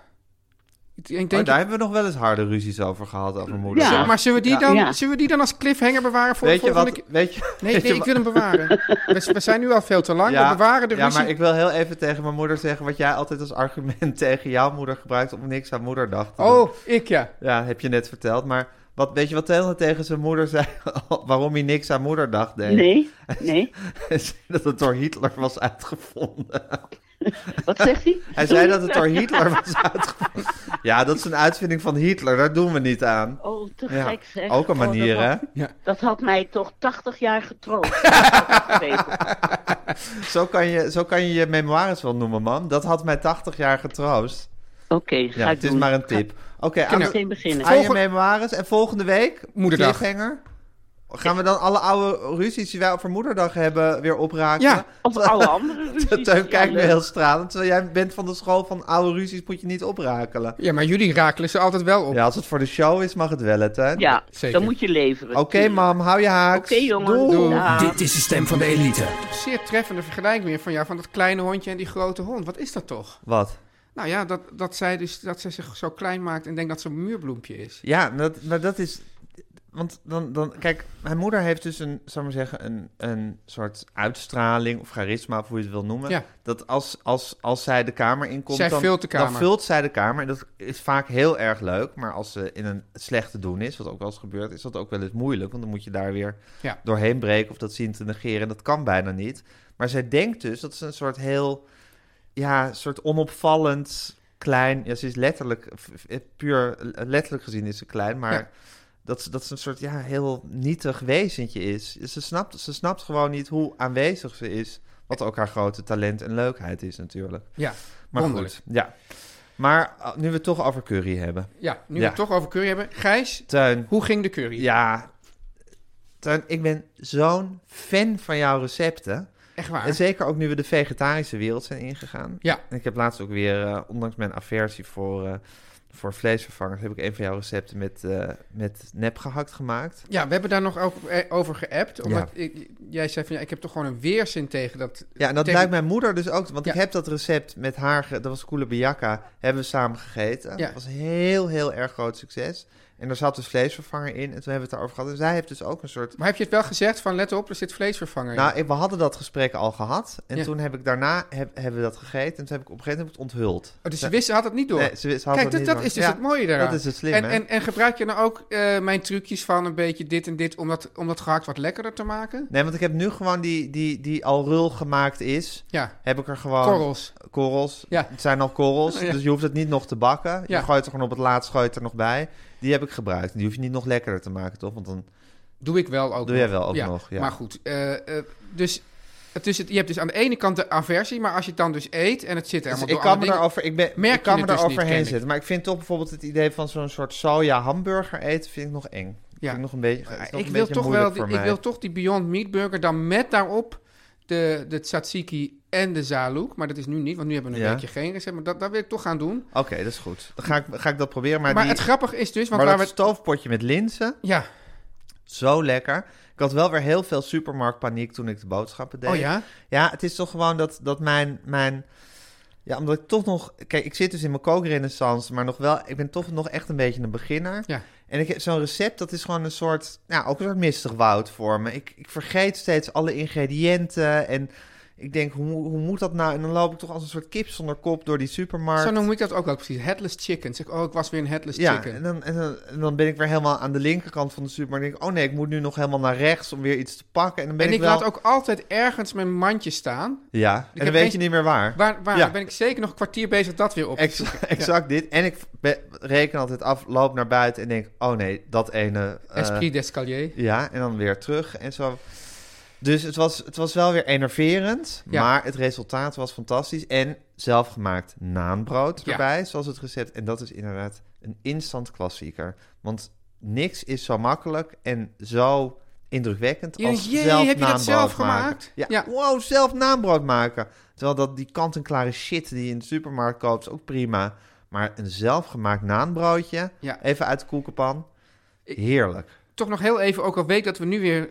Ik denk, Oh, daar hebben we nog wel eens harde ruzies over gehad, over moeder. Ja. Zullen- maar zullen we, die Ja. dan, Ja. zullen we die dan als cliffhanger bewaren voor Weet de je volgende wat? keer? Weet je, Nee, weet je nee, ik wil hem bewaren. We, we zijn nu al veel te lang. We bewaren de ja, ruzie. maar ik wil heel even tegen mijn moeder zeggen wat jij altijd als argument tegen jouw moeder gebruikt om niks aan moederdag te doen. Oh, ik ja. Ja, heb je net verteld. Maar wat, weet je wat Taylor tegen zijn moeder zei waarom hij niks aan moederdag deed? Nee, nee. Hij zei dat het door Hitler was uitgevonden. Wat zegt hij? Hij zei dat het door Hitler was uitgevonden. Ja, dat is een uitvinding van Hitler. Daar doen we niet aan. Oh, te Ja, gek zeg. ook een Oh, dat manier, had- hè? Dat had mij toch 80 jaar getroost. Dat had ik geweten. Zo kan, je, zo kan je je memoires wel noemen, man. Dat had mij 80 jaar getroost. Oké, ga Ja, ik het is doen. maar een tip. Oké, Ga aan, de- meteen beginnen. aan je Volgende- memoires. En volgende week, Moederdag. cliffhanger, gaan we dan alle oude ruzies die wij over moederdag hebben weer opraken. Ja. Of alle andere ruzies. Teun kijkt Ja, me leuk. heel stralend, terwijl jij bent van de school van oude ruzies moet je niet oprakelen. Ja, maar jullie rakelen ze altijd wel op. Ja, als het voor de show is, mag het wel, hè, Teun? Ja, Zeker. dan moet je leveren. Oké, mam, hou je haaks. Oké, jongen. Doei. Doei. Dag. Dit is de stem van de elite. Zeer treffende vergelijking weer van jou, van dat kleine hondje en die grote hond. Wat is dat toch? Wat? Nou ja, dat, dat zij dus dat zij zich zo klein maakt en denkt dat ze een muurbloempje is. Ja, dat, maar dat is. Want dan, dan, kijk, mijn moeder heeft dus een, zou ik maar zeggen, een, een soort uitstraling of charisma, of hoe je het wil noemen. Ja. Dat als, als, als zij de kamer inkomt, Zij dan, vult de dan kamer. vult zij de kamer. En dat is vaak heel erg leuk. Maar als ze in een slechte doen is, wat ook wel eens gebeurt, is dat ook wel eens moeilijk. Want dan moet je daar weer Ja. doorheen breken of dat zien te negeren. En dat kan bijna niet. Maar zij denkt dus dat ze een soort heel, ja, soort onopvallend klein. Ja, ze is letterlijk, f- f- puur letterlijk gezien is ze klein, maar Ja. dat, ze, dat ze een soort ja, heel nietig wezentje is. Ze snapt, ze snapt gewoon niet hoe aanwezig ze is. Wat ook haar grote talent en leukheid is natuurlijk. Ja, Maar Wonderlijk. goed, ja. Maar uh, nu we het toch over curry hebben. ja nu Ja. we het toch over curry hebben. Gijs, Tuin, hoe ging de curry? ja. Tuin, ik ben zo'n fan van jouw recepten. Echt waar. En zeker ook nu we de vegetarische wereld zijn ingegaan. Ja. En ik heb laatst ook weer, eh, ondanks mijn aversie voor, eh, voor vleesvervangers, heb ik een van jouw recepten met, eh met nepgehakt gemaakt. Ja, we hebben daar nog ook, eh, over geappt. Omdat ik- jij zei van ja, ik heb toch gewoon een weerzin tegen dat. Ja, en dat tegen- lijkt mijn moeder dus ook. Want ik Ja. heb dat recept met haar, ge- dat was koelebiaka, hebben we samen gegeten. Ja. Dat was een heel, heel erg groot succes. En daar zat dus vleesvervanger in. En toen hebben we het daarover gehad. En zij heeft dus ook een soort... Maar heb je het wel gezegd van let op, er zit vleesvervanger in? Nou, ik- we hadden dat gesprek al gehad. En Ja. toen heb ik daarna, heb, hebben we dat gegeten. En toen heb ik op een gegeven moment het onthuld. Oh, dus ze wist, ze had het niet door. eh, Nee, ze, ze had Kijk, het dat, niet dat door. is dus Ja. het mooie daaraan. Dat is het slim, en, hè? en, en gebruik je dan ook eh, mijn trucjes van een beetje dit en dit om dat, om dat gehakt wat lekkerder te maken? Nee, want ik heb nu gewoon die, die, die al rul gemaakt is, Ja, heb ik er gewoon... korrels. Korrels. Ja. Het zijn al korrels, Ja. dus je hoeft het niet nog te bakken. Je Ja. gooit er gewoon op het laatst, gooi je het er nog bij. Die heb ik gebruikt. Die hoef je niet nog lekkerder te maken, toch? Want dan... Doe ik wel ook Doe nog. jij wel ook nog, ja. Maar goed, eh, eh, dus, het is het, je hebt dus aan de ene kant de aversie, maar als je het dan dus eet en het zit Dus helemaal ik door kan me andere dingen- daarover... Ik, ben, Merk ik kan je me het dus niet, daaroverheen ken ik. zetten. Maar ik vind toch bijvoorbeeld het idee van zo'n soort soja hamburger eten... vind ik nog eng. Vind ik nog een beetje, het is nog ik een wil beetje toch moeilijk wel, die- voor ik mij. wil toch die Beyond Meat burger dan met daarop de, de tzatziki en de zalouk. Maar dat is nu niet, want nu hebben we een Ja. weekje geen recept. Maar dat, dat wil ik toch gaan doen. Oké, dat is goed. Dan ga ik, ga ik dat proberen. Maar, Maar, die, het grappige is dus, want maar waar dat we... stoofpotje met linzen... Ja, Zo lekker. Ik had wel weer heel veel supermarktpaniek toen ik de boodschappen deed. oh ja? Ja, het is toch gewoon dat, dat mijn, mijn... Ja, omdat ik toch nog... Kijk, ik zit dus in mijn kookrenaissance, maar nog wel... Ik ben toch nog echt een beetje een beginner. Ja. En ik heb zo'n recept, dat is gewoon een soort... Nou, ook een soort mistig woud voor me. Ik, ik vergeet steeds alle ingrediënten en... Ik denk, hoe, hoe moet dat nou? En dan loop ik toch als een soort kip zonder kop door die supermarkt. Zo noem ik dat ook wel precies. Headless chicken. Zeg, oh, ik was weer een headless ja, chicken. en dan, en, dan, en dan ben ik weer helemaal aan de linkerkant van de supermarkt. En denk ik, oh nee, ik moet nu nog helemaal naar rechts om weer iets te pakken. En dan ben en ik, ik wel... laat ook altijd ergens mijn mandje staan. Ja, en dan heb weet geen- je niet meer waar. Waar, waar Ja. ben ik zeker nog een kwartier bezig dat weer op te zoeken. Exact, exact dit. En ik be- reken altijd af, loop naar buiten en denk, oh nee, dat ene... eh, Esprit d'escalier. Ja, en dan weer terug en zo. Dus het was, het was wel weer enerverend, Ja. maar het resultaat was fantastisch. En zelfgemaakt naanbrood Ja. erbij, zoals het recept. En dat is inderdaad een instant klassieker. Want niks is zo makkelijk en zo indrukwekkend Je als denkt, jee, zelf heb je dat naanbrood zelf maken. gemaakt? Ja. Ja. wow, zelf naanbrood maken. Terwijl dat die kant-en-klare shit die je in de supermarkt koopt, is ook prima. Maar een zelfgemaakt naanbroodje, Ja. even uit de koekenpan, heerlijk. Toch nog heel even, ook al weet dat we nu weer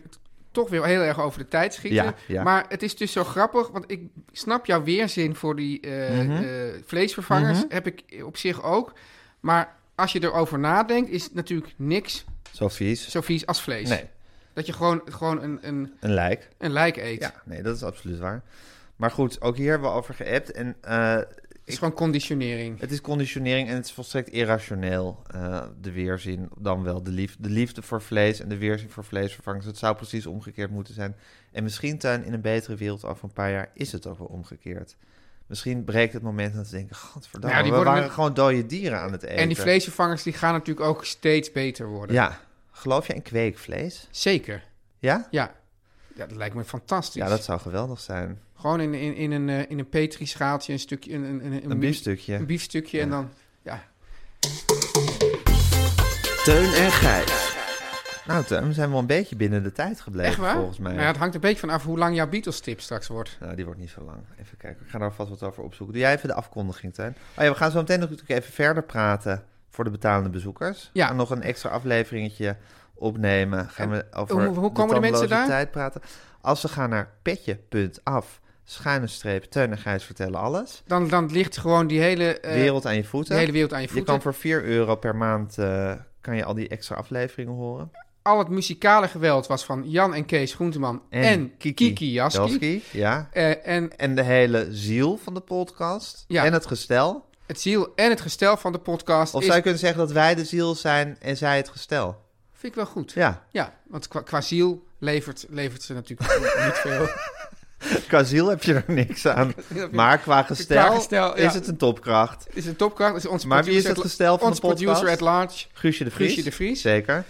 toch weer heel erg over de tijd schieten. Ja, ja. Maar het is dus zo grappig, want ik snap jouw weerzin voor die eh, Mhm. eh, vleesvervangers. Heb ik op zich ook. Maar als je erover nadenkt, is natuurlijk niks Zo vies. zo vies als vlees. Nee, Dat je gewoon, gewoon een, een, een lijk. een lijk eet. Ja, nee, dat is absoluut waar. Maar goed, ook hier hebben we over geappt. En eh, Het is gewoon conditionering. het is conditionering en het is volstrekt irrationeel. eh, de weerzin, dan wel de liefde, de liefde voor vlees en de weerzin voor vleesvervangers. Het zou precies omgekeerd moeten zijn. En misschien, Tuin, in een betere wereld over een paar jaar is het ook wel omgekeerd. Misschien breekt het moment dat we denken, godverdamme, Ja, die we worden waren met- gewoon dode dieren aan het eten. En die vleesvervangers die gaan natuurlijk ook steeds beter worden. Ja, geloof je in kweekvlees? Zeker. Ja? Ja. ja, dat lijkt me fantastisch. Ja, dat zou geweldig zijn. Gewoon in, in, in, een, eh, in een petrischaaltje een stukje, een, een, een, Een biefstukje. Een biefstukje en dan, ja. Teun en Gijs. Nou, Tuin, we zijn wel een beetje binnen de tijd gebleven, Echt waar? volgens mij. Nou ja, het hangt een beetje van af hoe lang jouw Beatles-tip straks wordt. Nou, die wordt niet zo lang. Even kijken. Ik ga daar vast wat over opzoeken. Doe jij even de afkondiging, Tuin? Oh ja, we gaan zo meteen natuurlijk even verder praten voor de betalende bezoekers. Ja. We gaan nog een extra afleveringetje opnemen. Gaan we over hoe- hoe komen de mensen daar? tijd praten. Als ze gaan naar petje.af, schuine streep, Teun en Gijs vertellen alles. Dan, dan ligt gewoon die hele, eh, wereld aan je voeten. de hele wereld aan je Je voeten. kan voor 4 euro per maand eh, kan je al die extra afleveringen horen. Al het muzikale geweld was van Jan en Kees Groenteman en, Kiki, Jaski. Jaski, ja. Eh, en En de hele ziel van de podcast. Ja. En het gestel. het ziel en het gestel van de podcast Of is, zou je kunnen zeggen dat wij de ziel zijn en zij het gestel? vind ik wel goed. Ja, Ja, want qua, qua ziel levert, levert ze natuurlijk niet veel. qua ziel heb je er niks aan. Maar qua gestel, Qua gestel, ja. is het een topkracht. Het is een topkracht. Het Is onze Maar wie is producer- het gestel van Ons de podcast? producer at large. Guusje de Vries. Guusje de Vries. Zeker.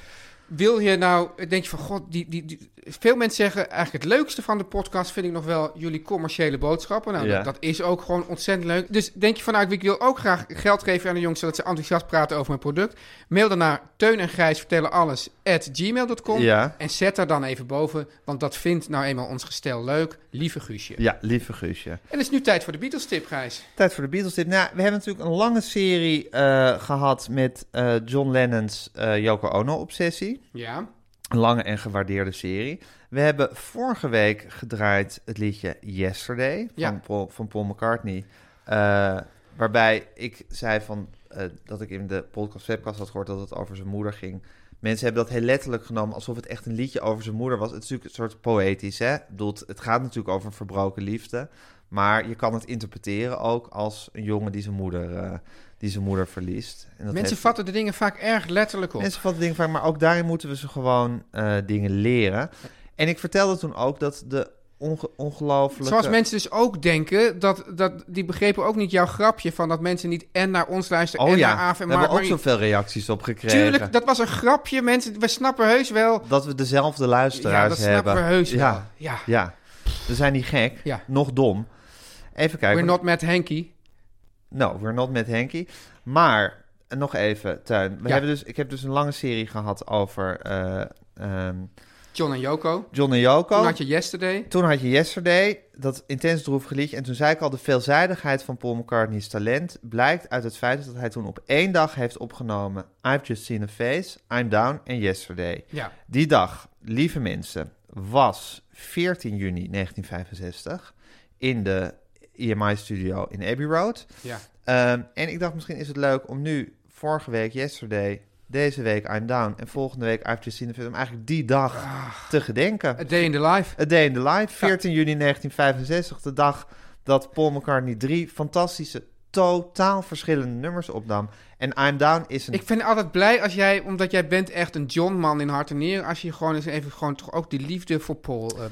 Wil je nou, denk je van god, die, die, die- veel mensen zeggen eigenlijk het leukste van de podcast vind ik nog wel jullie commerciële boodschappen. Nou, Ja. dat, dat is ook gewoon ontzettend leuk. Dus denk je van nou, ik wil ook graag geld geven aan de jongens zodat ze enthousiast praten over mijn product. Mail dan naar teun en grijs vertellen alles at gmail.com. Ja. En zet daar dan even boven, want dat vindt nou eenmaal ons gestel leuk. Lieve Guusje. Ja, lieve Guusje. En het is nu tijd voor de Beatles tip, Gijs. Tijd voor de Beatles tip. Nou, we hebben natuurlijk een lange serie eh, gehad met eh, John Lennon's eh, Yoko Ono-obsessie. Ja. Een lange en gewaardeerde serie. We hebben vorige week gedraaid het liedje Yesterday van, Ja. Paul, van Paul McCartney. Eh, waarbij ik zei van, eh, dat ik in de podcast webcast had gehoord dat het over zijn moeder ging. Mensen hebben dat heel letterlijk genomen alsof het echt een liedje over zijn moeder was. Het is natuurlijk een soort poëtisch, hè? Ik bedoel, het- het gaat natuurlijk over een verbroken liefde. Maar je kan het interpreteren ook als een jongen die zijn moeder, eh, die zijn moeder verliest. En dat Mensen heeft- vatten de dingen vaak erg letterlijk op. Mensen vatten dingen vaak, maar ook daarin moeten we ze gewoon eh, dingen leren. En ik vertelde toen ook dat de onge ongelooflijke... Zoals mensen dus ook denken, dat, dat, die begrepen ook niet jouw grapje van dat mensen niet en naar ons luisteren Oh en ja, naar AF en we hebben Mark Marie. ook zoveel reacties op gekregen. Tuurlijk, dat was een grapje. Mensen, we snappen heus wel. Dat we dezelfde luisteraars Ja, dat snappen hebben. we heus ja, wel. Ja. ja, we zijn niet gek, Ja. nog dom. Even kijken. We're not met Henky. No, we're not met Henky. Maar, en nog even, Tuin. We Ja. hebben dus, ik heb dus een lange serie gehad over eh, ehm, John en Joko. John en Joko. Toen had je Yesterday. Toen had je Yesterday, dat intens droevige liedje. En toen zei ik al, de veelzijdigheid van Paul McCartney's talent... blijkt uit het feit dat hij toen op één dag heeft opgenomen... I've Just Seen a Face, I'm Down en Yesterday. Ja. Die dag, lieve mensen, was 14 juni 1965... in de E EMI-studio in Abbey Road. ja. Ehm, en ik dacht, misschien is het leuk om nu vorige week, Yesterday... Deze week I'm Down en volgende week I've Just Seen the Film. om Eigenlijk die dag te gedenken. A Day in the Life. A Day in the Life, 14 juni 1965, de dag dat Paul McCartney drie fantastische, totaal verschillende nummers opnam. En I'm Down is een... Ik vind altijd blij als jij, omdat jij bent echt een John-man in hart en nieren, als je gewoon eens even gewoon toch ook die liefde voor Paul. eh,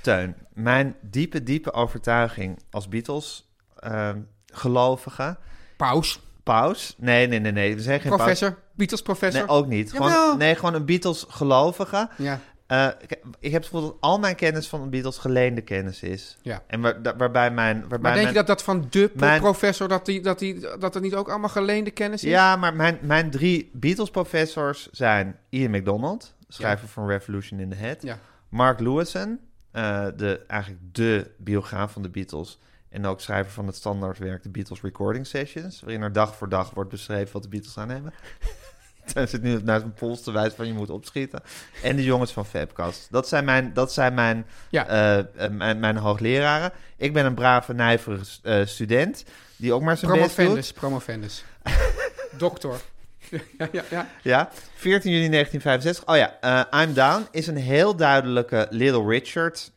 Teun, mijn diepe, diepe overtuiging als Beatles-gelovige... paus, Paus? Nee, nee, nee, nee. We zijn geen paus. professor, Beatles-professor. Nee, oh. ook niet. Jawel. Gewoon, nee, gewoon een Beatles-gelovige. Ja. Eh, ik, ik heb het gevoel dat al mijn kennis van de Beatles geleende kennis is. Ja. En waar, da- waarbij mijn... Waarbij Maar denk mijn... je dat dat van de mijn- professor, dat, die, dat, die, dat het niet ook allemaal geleende kennis is? Ja, maar mijn, mijn drie Beatles-professors zijn Ian MacDonald, schrijver van Revolution in the Head. Ja. Mark Lewison, eh, de, eigenlijk de biograaf van de Beatles. En ook schrijver van het standaardwerk The Beatles Recording Sessions. Waarin er dag voor dag wordt beschreven wat de Beatles aan hebben. Hij zit nu naar zijn pols te wijzen van je moet opschieten. En de jongens van Fabcast. Dat zijn mijn, dat zijn mijn, Ja. eh, eh, mijn, mijn hoogleraren. Ik ben een brave, nijverige s- eh, student. Die ook maar zijn best doet. Promovendus, promovendus. Dokter. ja, ja, ja. Ja, 14 juni 1965. Oh ja, eh, I'm Down is een heel duidelijke Little Richard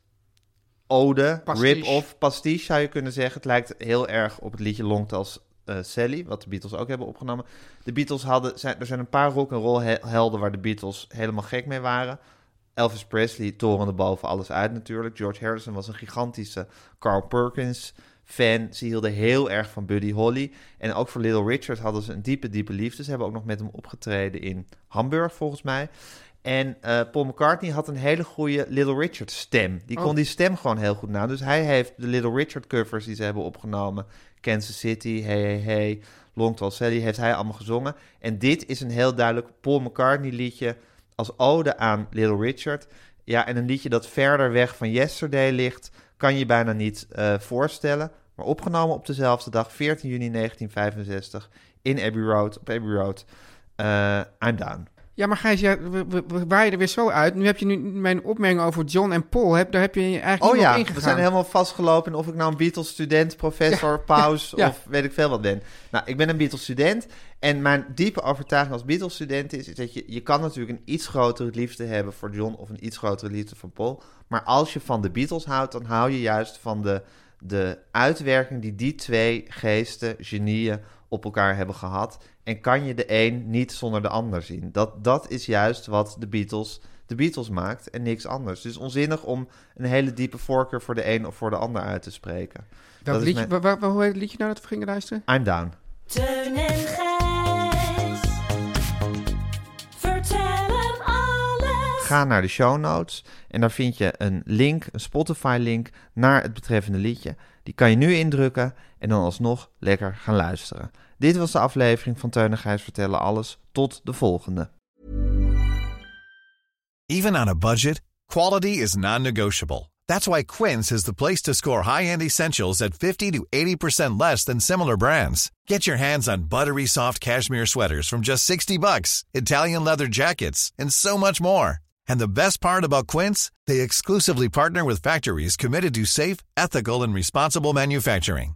ode, Pastiche. rip-off, pastiche zou je kunnen zeggen. Het lijkt heel erg op het liedje Long als Sally, wat de Beatles ook hebben opgenomen. De Beatles hadden, zijn, er zijn een paar rock roll helden waar de Beatles helemaal gek mee waren. Elvis Presley torende boven alles uit natuurlijk. George Harrison was een gigantische Carl Perkins fan. Ze hielden heel erg van Buddy Holly. En ook voor Little Richard hadden ze een diepe, diepe liefde. Ze hebben ook nog met hem opgetreden in Hamburg volgens mij. En eh, Paul McCartney had een hele goede Little Richard stem. Die kon die stem gewoon heel goed na. Dus hij heeft de Little Richard covers die ze hebben opgenomen. Kansas City, Hey Hey Hey, Long Tall Sally heeft hij allemaal gezongen. En dit is een heel duidelijk Paul McCartney liedje als ode aan Little Richard. Ja, en een liedje dat verder weg van Yesterday ligt, kan je bijna niet eh, voorstellen. Maar opgenomen op dezelfde dag, 14 juni 1965, in Abbey Road, op Abbey Road. Eh, I'm down. Ja, maar Gijs, ja, we, we, we waaien er weer zo uit. Nu heb je nu mijn opmerking over John en Paul. Heb, daar heb je eigenlijk Oh niet op ja, ingegaan. we zijn helemaal vastgelopen in of ik nou een Beatles-student, professor, paus Ja. of weet ik veel wat ben. Nou, ik ben een Beatles-student en mijn diepe overtuiging als Beatles-student is, is dat je, je kan natuurlijk een iets grotere liefde hebben voor John of een iets grotere liefde voor Paul. Maar als je van de Beatles houdt, dan hou je juist van de, de uitwerking die die twee geesten, genieën, op elkaar hebben gehad. En kan je de een niet zonder de ander zien. Dat, dat is juist wat de Beatles de Beatles maakt en niks anders. Dus onzinnig om een hele diepe voorkeur voor de een of voor de ander uit te spreken. dat is liedje, mijn- wa- wa- wa- hoe heet het liedje nou dat we gingen luisteren? I'm down. Teun en Gijs. Vertel hem alles. Ga naar de show notes en daar vind je een link, een Spotify-link naar het betreffende liedje. Die kan je nu indrukken en dan alsnog lekker gaan luisteren. Dit was de aflevering van Teun en Gijs Vertellen Alles. Tot de volgende. Even on a budget, quality is non-negotiable. That's why Quince is the place to score high-end essentials at 50 to 80% less than similar brands. Get your hands on buttery soft cashmere sweaters from just 60 bucks, Italian leather jackets, and so much more. And the best part about Quince, they exclusively partner with factories committed to safe, ethical, and responsible manufacturing.